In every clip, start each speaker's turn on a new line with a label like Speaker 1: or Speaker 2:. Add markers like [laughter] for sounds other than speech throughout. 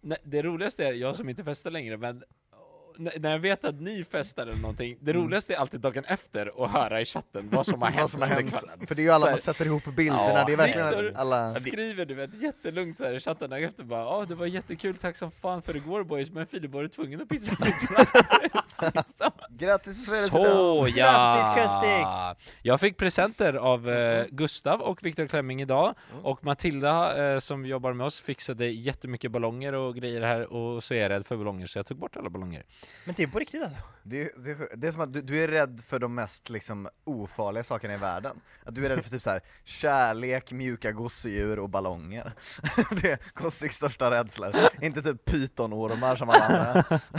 Speaker 1: Nej, Det roligaste är, jag som inte festar längre, men n- när jag vet att ni festar eller någonting, det roligaste är alltid dagen efter att höra i chatten vad som har hänt,
Speaker 2: Mm. vad som har
Speaker 1: under
Speaker 2: hänt.
Speaker 1: kvällen.
Speaker 2: För det är ju alla
Speaker 1: Så här,
Speaker 2: man sätter ihop bilderna, det är verkligen
Speaker 1: Victor
Speaker 2: att alla...
Speaker 1: skriver du vet jättelugnt såhär i chatten dagen efter bara Ja det var jättekul, tack som fan för igår boys, men Filip var du tvungen att pissa [laughs]
Speaker 2: Grattis på födelsedagen!
Speaker 1: Så
Speaker 2: Grattis,
Speaker 1: ja!
Speaker 2: Kustik!
Speaker 1: Jag fick presenter av eh, Gustav och Viktor Klemming idag, och Matilda eh, som jobbar med oss fixade jättemycket ballonger och grejer här, och så är jag rädd för ballonger så jag tog bort alla ballonger.
Speaker 3: Men det är på riktigt alltså?
Speaker 2: Det, det, det är som att du, du är rädd för de mest liksom ofarliga sakerna i världen. Att du är rädd för typ så här kärlek, mjuka gosedjur och ballonger. [laughs] det är Kossiks största rädslor. Inte typ pytonormar som alla
Speaker 1: [laughs]
Speaker 2: andra.
Speaker 1: Alltså-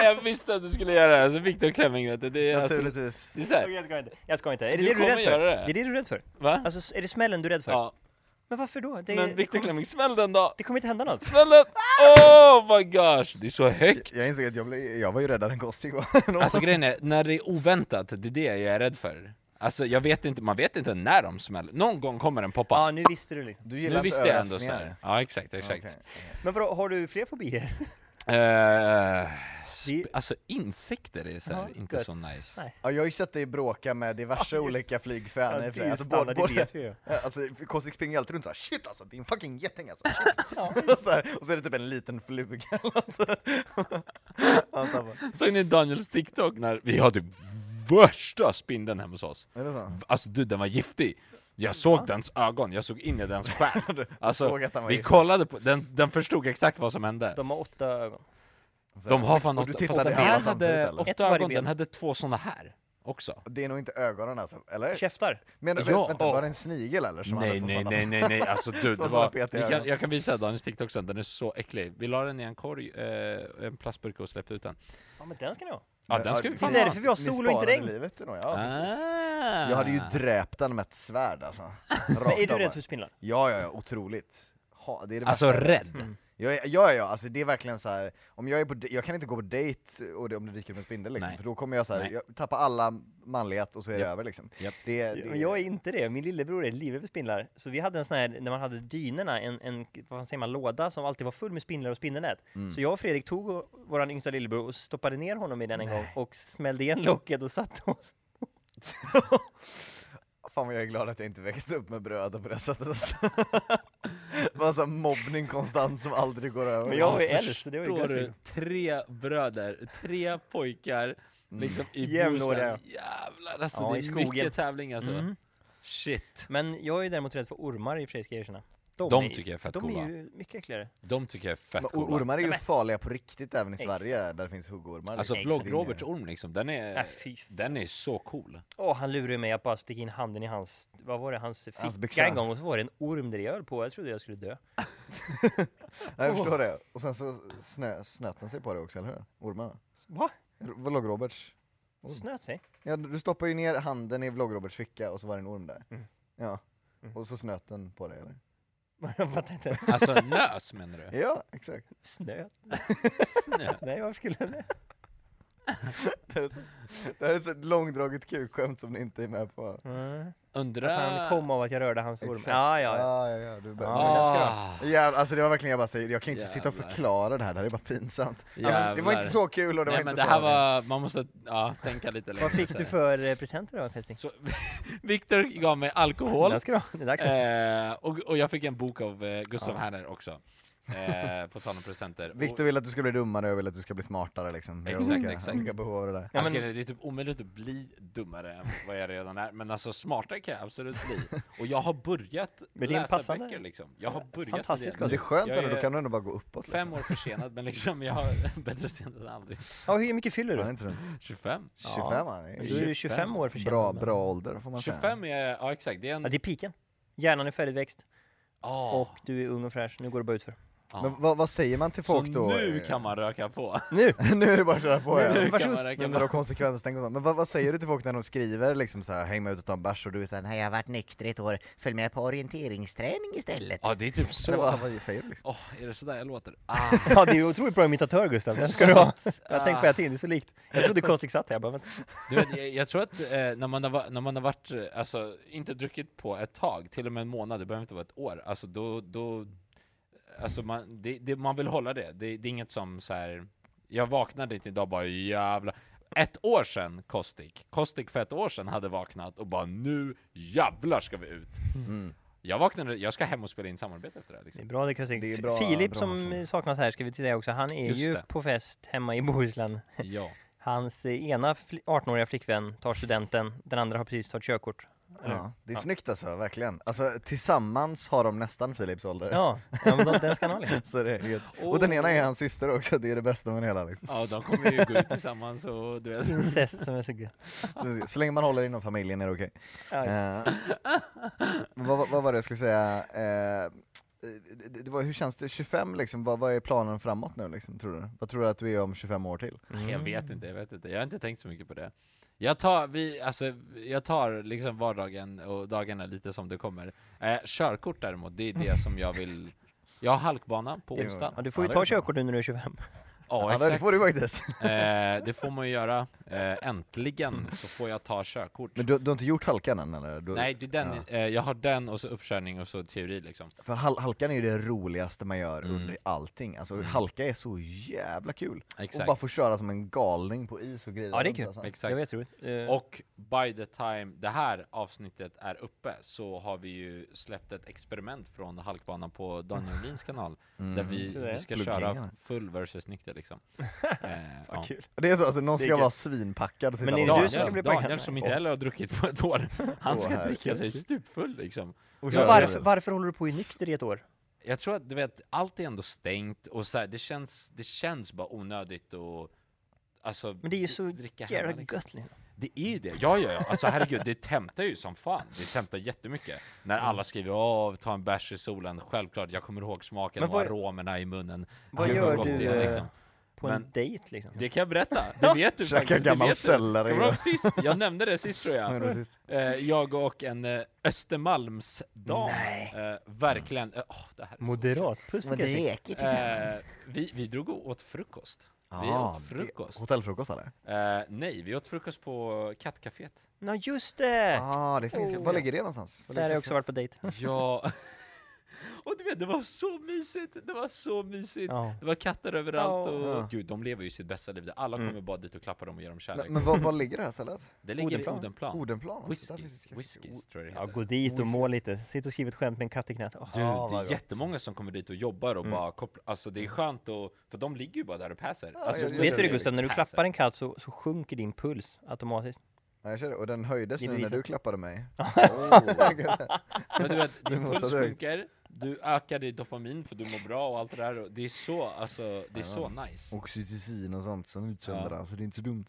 Speaker 1: Ah, jag visste att du skulle göra det! här. Alltså Viktor Klemming vet du, det är alltså,
Speaker 2: Naturligtvis.
Speaker 1: det är så här,
Speaker 3: Jag skojar inte. Jag skojar inte. Är det
Speaker 1: Du
Speaker 3: det du är
Speaker 1: kommer
Speaker 3: rädd för?
Speaker 1: göra det.
Speaker 3: det. är det du är rädd för?
Speaker 1: va?
Speaker 3: Alltså, s- är det smällen du är rädd för?
Speaker 1: Ja,
Speaker 3: Men varför då? Det,
Speaker 1: men
Speaker 3: det
Speaker 1: Viktor
Speaker 3: kommer-
Speaker 1: Klemming, smäll den då!
Speaker 3: Det kommer inte hända något.
Speaker 1: Smäll den! Oh my gosh, det är så högt!
Speaker 2: Jag insåg att jag, blev, jag var ju räddare än Kostik [laughs] var.
Speaker 1: Alltså grejen är, när det är oväntat, det är det jag är rädd för. Alltså jag vet inte, man vet inte när de smäller. Någon gång kommer den poppa.
Speaker 3: Ja, nu visste du liksom.
Speaker 2: Du
Speaker 1: nu
Speaker 2: gillar
Speaker 1: visste
Speaker 2: inte
Speaker 1: jag ändå så här.
Speaker 2: överraskningar.
Speaker 1: Ja exakt, exakt.
Speaker 2: Okej.
Speaker 3: Men vadå, har du
Speaker 1: [laughs]
Speaker 3: fler fobier?
Speaker 1: Eh,
Speaker 3: Det-
Speaker 1: sp- alltså insekter är så här,
Speaker 3: Ja,
Speaker 1: inte
Speaker 3: gött.
Speaker 1: så nice.
Speaker 3: Nej.
Speaker 2: Ja, jag har ju sett dig bråka med diverse
Speaker 3: [laughs] Ja, just-
Speaker 2: olika flygfän
Speaker 3: Ja,
Speaker 2: i och för
Speaker 3: det är
Speaker 2: sig. alltså,
Speaker 3: standard,
Speaker 2: både,
Speaker 3: det
Speaker 2: både,
Speaker 3: vet vi ju.
Speaker 2: Ja, [laughs] Alltså, Kostik springer ju alltid runt såhär 'Shit alltså, din fucking geting
Speaker 3: [laughs]
Speaker 2: alltså, shit!' och, [laughs] så här, och så är det typ en liten fluga [laughs] alltså. Han tappar.
Speaker 1: Såg ni Daniels TikTok när vi hade värsta spindeln hemma hos oss?
Speaker 2: Är det så?
Speaker 1: Alltså du, den var giftig. Jag såg dens ögon, jag såg in i dens
Speaker 2: [laughs]
Speaker 1: själ. Alltså,
Speaker 2: såg att den var
Speaker 1: vi
Speaker 2: giftig.
Speaker 1: kollade på den, den förstod exakt vad som hände.
Speaker 3: De har åtta ögon.
Speaker 2: Så
Speaker 1: De
Speaker 2: här,
Speaker 1: har fan
Speaker 2: och du
Speaker 1: åtta,
Speaker 2: tittade
Speaker 1: fast den
Speaker 2: alla
Speaker 1: här
Speaker 2: samtidigt,
Speaker 1: hade
Speaker 2: eller?
Speaker 3: Ett
Speaker 1: åtta
Speaker 3: varje
Speaker 1: ögon,
Speaker 3: ben.
Speaker 1: den hade två såna här också.
Speaker 2: Det är nog inte ögonen alltså, eller?
Speaker 3: Käftar.
Speaker 2: Men
Speaker 1: Ja.
Speaker 2: vänta, var det en snigel eller? Som hade
Speaker 1: Nej
Speaker 2: två
Speaker 1: nej
Speaker 2: sådana?
Speaker 1: nej nej nej, alltså du,
Speaker 2: Som
Speaker 1: det
Speaker 2: såna
Speaker 1: var, vi
Speaker 2: petiga
Speaker 1: kan,
Speaker 2: ögon.
Speaker 1: jag kan visa Daniels TikTok sen, den är så äcklig. Vi la den i en korg, eh, en plastburk och släppte ut den.
Speaker 3: Ja men den ska ni ha.
Speaker 1: Ja
Speaker 2: Men,
Speaker 1: den ska
Speaker 2: ja,
Speaker 1: vi
Speaker 3: Det
Speaker 1: fan
Speaker 3: är
Speaker 1: ha!
Speaker 3: därför vi har
Speaker 2: Ni
Speaker 3: sol och inte
Speaker 2: sparade
Speaker 3: regn.
Speaker 2: livet nog, ja. precis.
Speaker 1: Ah.
Speaker 2: Jag hade ju dräpt den med ett svärd
Speaker 3: [laughs]
Speaker 2: alltså.
Speaker 3: Men
Speaker 2: Rakt
Speaker 3: är
Speaker 2: av
Speaker 3: du
Speaker 2: bara.
Speaker 3: rädd för spindlar?
Speaker 2: Ja, ja, ja, otroligt. Ha, det är det
Speaker 1: Alltså
Speaker 2: värsta jag vet.
Speaker 1: rädd.
Speaker 3: Mm.
Speaker 2: Jag är, ja, ja, alltså det är verkligen så här. om jag är på de- jag kan inte gå på dejt och det, om det dyker upp en spindel liksom,
Speaker 1: Nej.
Speaker 2: för då kommer jag så här,
Speaker 1: Nej.
Speaker 2: jag tappar alla manlighet och så är det
Speaker 1: Japp.
Speaker 2: över liksom.
Speaker 1: Japp.
Speaker 2: Det, det,
Speaker 3: Men jag är inte det. Min lillebror är livrädd för spindlar. Så vi hade en sån här, när man hade dynorna, en, en vad säger man, låda som alltid var full med spindlar och spindelnät.
Speaker 1: Mm.
Speaker 3: Så jag och Fredrik tog vår yngsta lillebror och stoppade ner honom i den en gång och smällde igen locket och satte oss.
Speaker 2: [laughs] Fan vad jag är glad att jag inte växte upp med bröder på det sättet alltså. [laughs] Det var så här mobbning konstant som aldrig går över.
Speaker 3: Men jag var ju äldst, så det var ju
Speaker 1: Förstår
Speaker 3: gött.
Speaker 1: du? Tre bröder, tre pojkar, liksom i
Speaker 3: Jämnåriga.
Speaker 1: Bohuslän. Jävlar alltså,
Speaker 3: Ja, i
Speaker 1: det är
Speaker 3: skogen.
Speaker 1: mycket tävling alltså.
Speaker 3: Mm.
Speaker 1: Shit.
Speaker 3: Men jag är däremot rädd för ormar i och för sig, ska jag erkänna.
Speaker 1: De
Speaker 3: är-
Speaker 1: tycker jag är fett
Speaker 3: De
Speaker 1: coola.
Speaker 3: är ju mycket äckligare.
Speaker 1: De tycker jag är fett
Speaker 2: Men
Speaker 1: coola.
Speaker 2: or- ormar är ju
Speaker 3: Nej, men-
Speaker 2: farliga på riktigt även i
Speaker 3: Exakt.
Speaker 2: Sverige, där det finns huggormar. [laughs]
Speaker 1: Alltså
Speaker 2: liksom.
Speaker 1: vlogg
Speaker 2: Så det är
Speaker 1: Roberts
Speaker 2: ju-
Speaker 1: orm liksom, den är,
Speaker 3: Äh, fy fan.
Speaker 1: den är så cool.
Speaker 3: Åh, han lurade mig att bara sticka in handen i hans, vad var det, hans ficka
Speaker 2: byxa.
Speaker 3: en gång och så var det en orm där jag höll på. Jag trodde jag skulle dö.
Speaker 2: Ja, jag förstår det. Och sen så snö, snöt den sig på det också, eller hur? Ormarna.
Speaker 3: Va?
Speaker 2: R- Vlogg Roberts.
Speaker 3: Snöt sig? [laughs]
Speaker 1: Mm.
Speaker 2: Ja, du stoppar ju ner handen i vlogg Roberts ficka och så var det en orm där. Ja. Och så snöt den på dig eller?
Speaker 3: Jag fattar inte.
Speaker 1: Alltså nös menar
Speaker 2: [laughs]
Speaker 1: du?
Speaker 2: Ja, exakt.
Speaker 1: [laughs]
Speaker 3: Snö?
Speaker 1: Snö.
Speaker 3: [laughs] Nej, varför skulle den det?
Speaker 2: Det här är så, det här är så ett långdraget kukskämt som ni inte är med på.
Speaker 1: Mm. Undrar...
Speaker 3: Att han kom av att jag rörde hans orm.
Speaker 2: Exakt.
Speaker 3: Ja, ja, ja.
Speaker 2: ja, ja, ja, du börjar-
Speaker 3: men den ska
Speaker 1: Ah,
Speaker 2: Ja, alltså det var verkligen, jag bara säger, jag kan ju inte sitta och
Speaker 1: Jävlar.
Speaker 2: förklara det här, det här är bara pinsamt. Ja, men det var
Speaker 1: Jävlar.
Speaker 2: inte så kul och det
Speaker 1: Nej
Speaker 2: var
Speaker 1: men
Speaker 2: inte
Speaker 1: det
Speaker 2: så...
Speaker 1: här var, man måste ja, tänka lite längre.
Speaker 3: Vad fick du för eh, presenter då, Petting?
Speaker 1: Så, [laughs] Victor gav mig alkohol,
Speaker 3: Den ska du ha. Det är dags.
Speaker 1: eh, och, och jag fick en bok av eh, Gustav Herner också. Eh, på tal om
Speaker 2: [laughs]
Speaker 1: presenter. Och-
Speaker 2: Viktor vill att du ska bli dummare och jag vill att du ska bli smartare liksom. Vi har
Speaker 1: Exakt,
Speaker 2: olika,
Speaker 1: exakt.
Speaker 2: olika behov av det där.
Speaker 3: Ja,
Speaker 1: Alltså,
Speaker 3: men-
Speaker 1: grejen är, det är typ omöjligt att bli dummare än vad jag redan är, men alltså smartare kan jag absolut bli. Och jag har
Speaker 2: [laughs]
Speaker 1: börjat
Speaker 3: Men det är en
Speaker 1: läsa
Speaker 3: passande-
Speaker 1: böcker liksom. Jag har börjat med
Speaker 3: fantastiskt
Speaker 1: det.
Speaker 2: Det är skönt
Speaker 1: jag
Speaker 2: ändå, då kan du ändå bara gå uppåt liksom.
Speaker 1: Fem år försenad, men liksom jag har [laughs] bättre sent än aldrig.
Speaker 3: Ja, hur mycket fyller
Speaker 2: Han är
Speaker 3: du?
Speaker 2: inte runt
Speaker 1: 25?
Speaker 2: 25 han är
Speaker 3: Då är du 25 år försenad.
Speaker 2: Bra, bra ålder får man säga.
Speaker 1: 25 är, ja exakt, det är en...
Speaker 3: Ja, det är piken. Hjärnan är färdigväxt
Speaker 1: Ah.
Speaker 3: och du är ung och fräsch. Nu går det bara utför.
Speaker 2: Men vad, vad säger man till folk
Speaker 1: så
Speaker 2: då?
Speaker 1: nu kan man röka på.
Speaker 3: Nu!
Speaker 2: [laughs] nu är det bara att köra på ja.
Speaker 1: Nu kan man röka
Speaker 2: Men vadå
Speaker 1: på.
Speaker 2: konsekvenstänk och sånt? Men vad, vad säger du till folk när de skriver liksom så här, häng med ut och ta en bärs och du är såhär, nej jag har varit nykter i ett år, följ med på orienteringsträning istället.
Speaker 1: Ja det är typ
Speaker 2: Eller
Speaker 1: så.
Speaker 2: vad, vad säger du liksom?
Speaker 1: Åh, är det sådär jag låter? Ah.
Speaker 3: Ja, du är otroligt bra imitatör Gustav. Den ska du ha. Jag tänkte på det här till, det är så likt. Jag trodde Kostik satt här. Jag bara, men-
Speaker 1: Du vet, jag, jag tror att eh, när, man har, va- när man har varit, eh, alltså, inte druckit på ett tag, till och med en månad, det behöver inte vara ett år, alltså då, då alltså man, det, det, man vill hålla det. det. Det är inget som så här. jag vaknade inte idag och bara jävla ett år sedan Kostik, Kostik för ett år sedan hade vaknat och bara nu jävlar ska vi ut. Jag vaknade, jag ska hem och spela in samarbete efter det här
Speaker 3: Det är [laughs]
Speaker 1: liksom.
Speaker 3: bra det Kostik.
Speaker 2: Det är bra-
Speaker 3: Filip
Speaker 2: bra
Speaker 3: som
Speaker 2: sång.
Speaker 3: saknas här ska vi säga också. Han är
Speaker 1: Just
Speaker 3: ju
Speaker 1: det.
Speaker 3: på fest hemma i Bohuslän.
Speaker 1: Ja.
Speaker 3: Hans eh, ena fli- 18-åriga flickvän tar studenten. Den andra har precis tagit körkort.
Speaker 2: Ja, det är snyggt alltså, verkligen. Alltså tillsammans har de nästan Philips ålder.
Speaker 3: Ja, ja men de- den ska han ha. liksom.
Speaker 2: [laughs] Så det är gött. Och den ena är hans syster också, det är det bästa med det hela liksom.
Speaker 1: ja, de kommer ju gå ut tillsammans och du vet.
Speaker 3: Incest som är så gött.
Speaker 2: så, så länge man håller inom familjen är det okej.
Speaker 3: Ja.
Speaker 2: Eh, men vad, vad var det jag skulle säga? Eh, det, det- det var, hur känns det? 25 liksom, vad, vad är planen framåt nu liksom, tror du? Vad tror du att du är om 25 år till?
Speaker 1: Nej, Jag vet inte, jag vet inte. Jag har inte tänkt så mycket på det. Jag tar, vi, alltså, jag tar liksom vardagen och dagarna lite som det kommer. Eh, körkort däremot, det är det som jag vill. Jag har halkbana på onsdag.
Speaker 3: Ja, du får ju
Speaker 2: Ja, det
Speaker 3: ta
Speaker 2: är
Speaker 3: körkort nu när du är 25.
Speaker 1: Ja,
Speaker 2: Ja, det
Speaker 1: exakt.
Speaker 2: får du faktiskt.
Speaker 1: Eh, det får man ju göra. Eh, äntligen så får jag ta körkort.
Speaker 2: Men du, du har inte gjort halkan än eller? Du,
Speaker 1: Nej, det är den, eh, jag har den och så uppkörning och så teori liksom.
Speaker 2: För hal- halkan är ju det roligaste man gör
Speaker 3: Mm.
Speaker 2: under allting. Alltså halka är så jävla kul. Och
Speaker 1: Exakt.
Speaker 2: bara få köra som en galning på is och grejer.
Speaker 3: Ja, det är
Speaker 2: runt,
Speaker 3: kul.
Speaker 2: alltså.
Speaker 1: Exakt.
Speaker 3: Det var jätteroligt. Eh,
Speaker 1: Och by the time det här avsnittet är uppe så har vi ju släppt ett experiment från halkbanan på Daniel Lins kanal Där vi,
Speaker 3: Mm. Så där.
Speaker 1: vi ska
Speaker 2: Pluggingarna.
Speaker 1: köra full versus nykter
Speaker 3: [laughs]
Speaker 1: liksom eh, ja.
Speaker 3: kul.
Speaker 2: Det är så, alltså någon
Speaker 3: Det är
Speaker 2: ska
Speaker 3: kul.
Speaker 2: vara svinpackad och sitta
Speaker 3: Men är
Speaker 2: och
Speaker 3: det
Speaker 2: bara-
Speaker 3: du som ska bli
Speaker 1: Daniel, Daniel
Speaker 3: packad?
Speaker 1: som inte heller har druckit på ett år
Speaker 3: [laughs]
Speaker 1: Han ska
Speaker 2: Åh,
Speaker 1: dricka
Speaker 2: herregud.
Speaker 1: sig stupfull liksom
Speaker 2: och
Speaker 3: Men
Speaker 2: köra
Speaker 3: varför,
Speaker 2: över.
Speaker 3: varför håller du på i nykter i ett år?
Speaker 1: Jag tror att du vet, allt är ändå stängt och så här, det, känns, det känns bara onödigt och Alltså,
Speaker 3: Men det är ju
Speaker 1: dri-
Speaker 3: så
Speaker 1: dricka hemma,
Speaker 3: jävla
Speaker 1: liksom.
Speaker 3: gött. liksom.
Speaker 1: Det är ju det, ja ja ja, alltså herregud det tämtar ju som fan Det tämtar jättemycket När alla skriver av, ta en bärs i solen Självklart, jag kommer ihåg smaken
Speaker 3: Men
Speaker 1: och
Speaker 3: vad-
Speaker 1: aromerna i munnen
Speaker 3: vad
Speaker 1: Gud,
Speaker 3: gör
Speaker 1: gott
Speaker 3: du,
Speaker 1: det är,
Speaker 3: eh,
Speaker 1: liksom.
Speaker 3: På en
Speaker 1: Men-
Speaker 3: dejt liksom.
Speaker 1: Det kan jag berätta, det vet du
Speaker 2: Käka
Speaker 1: faktiskt
Speaker 2: gammal
Speaker 1: det vet du.
Speaker 2: sellare
Speaker 1: Kommer du ihåg
Speaker 2: igår.
Speaker 1: sist? Jag nämnde det sist tror jag
Speaker 2: Ja, det var sist.
Speaker 1: Eh, Jag och en eh, Östermalmsdam eh, Verkligen, eh, åh, det här är så-
Speaker 3: Moderat. Puss på Kostik.
Speaker 1: Eh, vi, vi drog och åt frukost Vi
Speaker 2: Ja,
Speaker 1: åt
Speaker 2: det-
Speaker 1: frukost
Speaker 2: Hotellfrukost eller?
Speaker 1: eh, Nej, vi åt frukost på Kattcaféet
Speaker 3: Ja, just det!
Speaker 2: Ja, ah, det finns Var ligger det någonstans? Var
Speaker 3: Oh, Där har
Speaker 2: ligger
Speaker 3: jag också varit på dejt.
Speaker 1: Ja. [laughs] Och du vet, det var så mysigt, det var så mysigt.
Speaker 3: Ja.
Speaker 1: Det var katter överallt
Speaker 3: Ja.
Speaker 1: och
Speaker 2: Ja.
Speaker 1: gud, de lever ju sitt bästa liv. där. Alla kommer bara dit och klappar dem och ger dem
Speaker 2: det?
Speaker 1: kärlek.
Speaker 2: Men, men var, var ligger det här stället?
Speaker 1: det ligger
Speaker 3: Odenplan.
Speaker 1: i Odenplan.
Speaker 2: Odenplan? alltså, där finns
Speaker 1: Whiskies,
Speaker 2: det-
Speaker 1: Whiskies tror jag det
Speaker 3: Ja,
Speaker 1: heter.
Speaker 3: gå dit och må lite. Sitt och skriv ett skämt med en katt i knät. Åh.
Speaker 1: Du,
Speaker 2: Ja,
Speaker 1: det
Speaker 2: vad
Speaker 1: är
Speaker 2: gott. Mm.
Speaker 1: jättemånga som kommer dit och jobbar och bara kopplar, alltså det är skönt och, för de ligger ju bara där och passar.
Speaker 2: ja,
Speaker 1: Alltså,
Speaker 2: ja,
Speaker 3: Vet du det Gustav, när du
Speaker 1: passar.
Speaker 2: [laughs]
Speaker 3: klappar en katt så, så sjunker din puls automatiskt.
Speaker 2: Ja, jag körde, och den höjdes
Speaker 3: Det
Speaker 2: nu när
Speaker 3: bevisar.
Speaker 2: du klappade mig. [laughs] Oh.
Speaker 1: Men du vet,
Speaker 2: Det är
Speaker 1: din puls
Speaker 2: motsatt väg.
Speaker 1: sjunker, du ökar ditt dopamin för du mår bra och allt det där. Och det är så, alltså, det är så nice.
Speaker 2: Oxytocin och sånt som utsöndrar, så det är inte så dumt.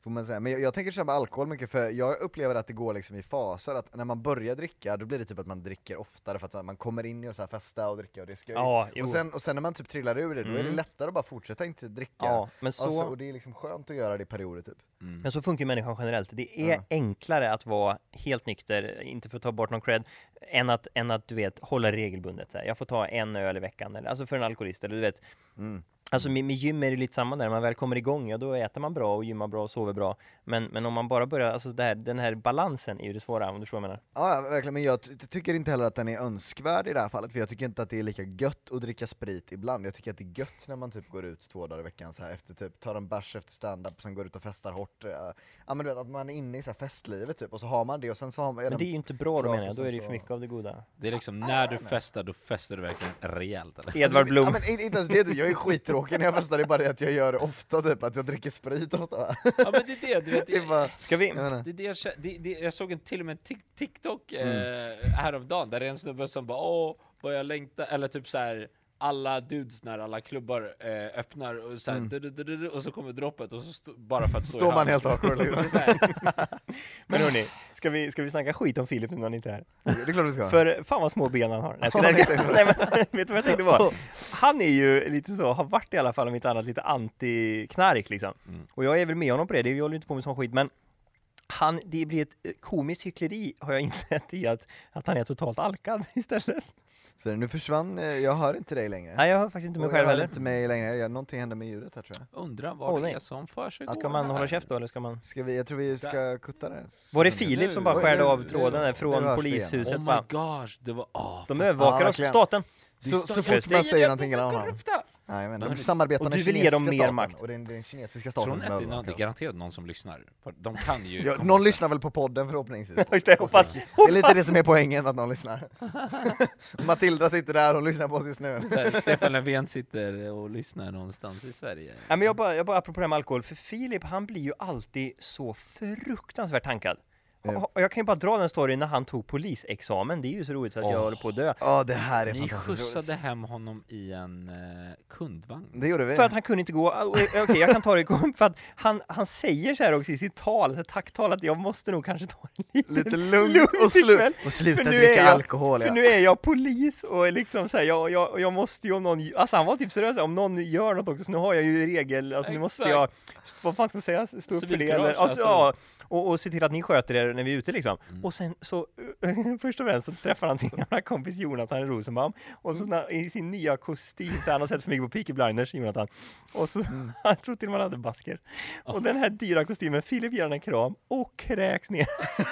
Speaker 2: Får man säga. Men jag, jag tänker köra med alkohol mycket för jag upplever att det går liksom i faser, att när man börjar dricka då blir det typ att man dricker oftare för att man kommer in i att så här festa och dricka och det ska
Speaker 3: Ja, jo. Mm.
Speaker 2: och, sen, och sen när man typ trillar ur det, då är det lättare att bara fortsätta inte dricka.
Speaker 3: Ja, men så-
Speaker 2: alltså, och det är liksom skönt att göra det i perioder typ.
Speaker 1: Mm.
Speaker 3: Men så funkar ju människan generellt. Det är
Speaker 2: Ja.
Speaker 3: enklare att vara helt nykter, inte för att ta bort någon cred, än att, än att du vet, hålla regelbundet. Så här. Jag får ta en öl i veckan, eller, alltså för en alkoholist. Eller, du vet.
Speaker 2: Mm.
Speaker 3: Alltså med, med gym är det lite samma där, när man väl kommer igång, ja då äter man bra och gymmar bra och sover bra. Men, men om man bara börjar, alltså det här, den här balansen är ju det svåra, om du förstår vad jag menar.
Speaker 2: Ja, ja, verkligen, men jag ty- tycker inte heller att den är önskvärd i det här fallet, för jag tycker inte att det är lika gött att dricka sprit ibland. Jag tycker att det är gött när man typ går ut två dagar i veckan så här efter typ, tar en bärs efter stand-up, sen går ut och festar hårt. eh, Ja men du vet, att man är inne i så här festlivet typ, och så har man det och sen så har man... är den-
Speaker 3: Men det är ju inte bra då
Speaker 2: bra
Speaker 3: menar jag, då är det ju
Speaker 2: precis
Speaker 3: för
Speaker 2: så.
Speaker 3: mycket av det goda.
Speaker 1: Det är
Speaker 2: Ah,
Speaker 1: liksom, när du festar, då festar du verkligen rejält eller?
Speaker 3: Edvard
Speaker 2: Ja,
Speaker 3: Blom.
Speaker 2: men inte, inte ens det, typ. jag är skittråkig när jag festar, det är bara det att jag gör det ofta typ, att jag dricker sprit
Speaker 3: [laughs]
Speaker 2: ofta.
Speaker 1: Ja men det är det, du vet,
Speaker 2: Det är bara,
Speaker 3: Ska vi?
Speaker 2: jag menar.
Speaker 1: Det, är det, jag, kä- det, det, jag såg en, till och med en Tik- TikTok
Speaker 2: Mm.
Speaker 1: eh, häromdagen där det är en snubbe som bara åh, vad jag längtar, eller typ så här alla dudes när alla klubbar eh, öppnar och så här, du-du-du-du-du, och så kommer droppet och så stå, bara för att stå i
Speaker 2: Mm. Står man
Speaker 1: hörnet.
Speaker 2: helt awkward
Speaker 1: Det
Speaker 2: liksom.
Speaker 1: är så här,
Speaker 3: Men hörni, ska vi, ska vi snacka skit om Filip nu när han inte är här?
Speaker 2: Det är klart vi ska.
Speaker 3: För fan vad små ben han har. Nej, jag skojar.
Speaker 2: Ja, det är det.
Speaker 3: Nej, men, [laughs] vet du vad jag tänkte på? Han är ju lite så, har varit i alla fall om inte annat lite anti-knark liksom.
Speaker 2: Mm.
Speaker 3: Och jag är väl med honom på det, det vi håller inte på med sån skit, men han, det blir ett eh, komiskt hyckleri har jag [laughs] insett i att, att han är totalt alkad [laughs] istället.
Speaker 2: Så nu försvann, eh, jag hör inte dig längre.
Speaker 3: Nej, jag hör faktiskt inte mig
Speaker 2: Och jag
Speaker 3: själv
Speaker 2: hör
Speaker 3: heller.
Speaker 2: inte mig längre, Jag- någonting hände med ljudet här tror jag.
Speaker 1: undrar vad
Speaker 3: Åh,
Speaker 1: det
Speaker 3: nej.
Speaker 1: är som för sig
Speaker 3: Ska man hålla käft då eller ska man?
Speaker 2: Ska vi, jag tror vi ska kutta det.
Speaker 3: Var det Filip som bara
Speaker 2: Oj,
Speaker 3: skärde
Speaker 2: nu-
Speaker 3: av
Speaker 2: nu-
Speaker 3: tråden där
Speaker 2: nu hörs vi
Speaker 3: från polishuset?
Speaker 1: Oh my
Speaker 3: bara?
Speaker 1: gosh, det var... Oh,
Speaker 3: De
Speaker 2: Ja,
Speaker 3: övervakar oss,
Speaker 2: verkligen.
Speaker 3: staten!
Speaker 2: Så,
Speaker 1: Det är
Speaker 2: så
Speaker 1: stor-
Speaker 2: fort man
Speaker 1: Jag
Speaker 2: säger
Speaker 1: säger
Speaker 2: någonting eller annan. Nej, men de samarbetar
Speaker 3: Och
Speaker 2: med
Speaker 3: du vill ge dem
Speaker 2: kinesiska
Speaker 3: mer
Speaker 2: staten,
Speaker 3: makt.
Speaker 2: Och det är den kinesiska
Speaker 1: Tror
Speaker 2: staten
Speaker 1: ni
Speaker 2: som
Speaker 1: att det är någon, det är
Speaker 2: övervakar oss.
Speaker 1: garanterat någon som lyssnar? För De kan ju...
Speaker 2: Ja,
Speaker 1: komma
Speaker 2: någon
Speaker 1: på-
Speaker 2: lyssnar väl på podden
Speaker 3: [laughs]
Speaker 2: förhoppningsvis?
Speaker 3: Just det, jag hoppas!
Speaker 2: Det är lite det som är poängen, att någon
Speaker 3: [laughs]
Speaker 2: lyssnar. Matilda sitter där, hon lyssnar på oss just nu.
Speaker 1: Så här, Stefan Löfven sitter och lyssnar någonstans i Sverige.
Speaker 3: Ja, men jag bara, jag bara apropå det här med alkohol, för Filip han blir ju alltid så fruktansvärt tankad. Och-
Speaker 2: Ja.
Speaker 3: Och jag kan ju bara dra den storyn när han tog polisexamen, det är ju så roligt så att jag
Speaker 1: Åh.
Speaker 3: håller på att dö.
Speaker 2: Ja, det här är
Speaker 1: Ni
Speaker 2: fantastiskt
Speaker 1: skjutsade
Speaker 2: roligt.
Speaker 1: hem honom i en eh, kundvagn.
Speaker 2: Det gjorde vi.
Speaker 3: För att han kunde inte gå, och- och- okej jag kan ta det igång, för att han, han säger så här också i sitt tal, så här tacktal, att jag måste nog kanske ta en liten
Speaker 2: Lite lugnt och,
Speaker 3: ikväll,
Speaker 2: slu och sluta
Speaker 3: för nu
Speaker 2: dricka
Speaker 3: är jag-
Speaker 2: alkohol.
Speaker 3: För
Speaker 2: Ja.
Speaker 3: nu är jag polis och är liksom så här, jag, jag, jag måste ju om någon, alltså han var typ seriös, om någon gör något också, så nu har jag ju regel, alltså nu måste jag, st- vad fan ska man säga, stå upp för det
Speaker 1: Civilkurage,
Speaker 3: eller, alltså,
Speaker 1: alltså. Mm.
Speaker 3: ja, och, och se till att ni sköter er när vi är ute liksom. Och sen så, eh, [laughs] först och främst så träffar han sin gamla kompis Jonathan Rosenbaum, och så
Speaker 1: Mm.
Speaker 3: när, i sin nya kostym, så här, han har sett för mycket på Peaky Blinders, Jonathan, och så,
Speaker 1: Mm.
Speaker 3: [laughs] han tror till och med han hade basker.
Speaker 1: Ah.
Speaker 3: Och den här dyra kostymen, Filip ger honom en kram och kräks ner [laughs]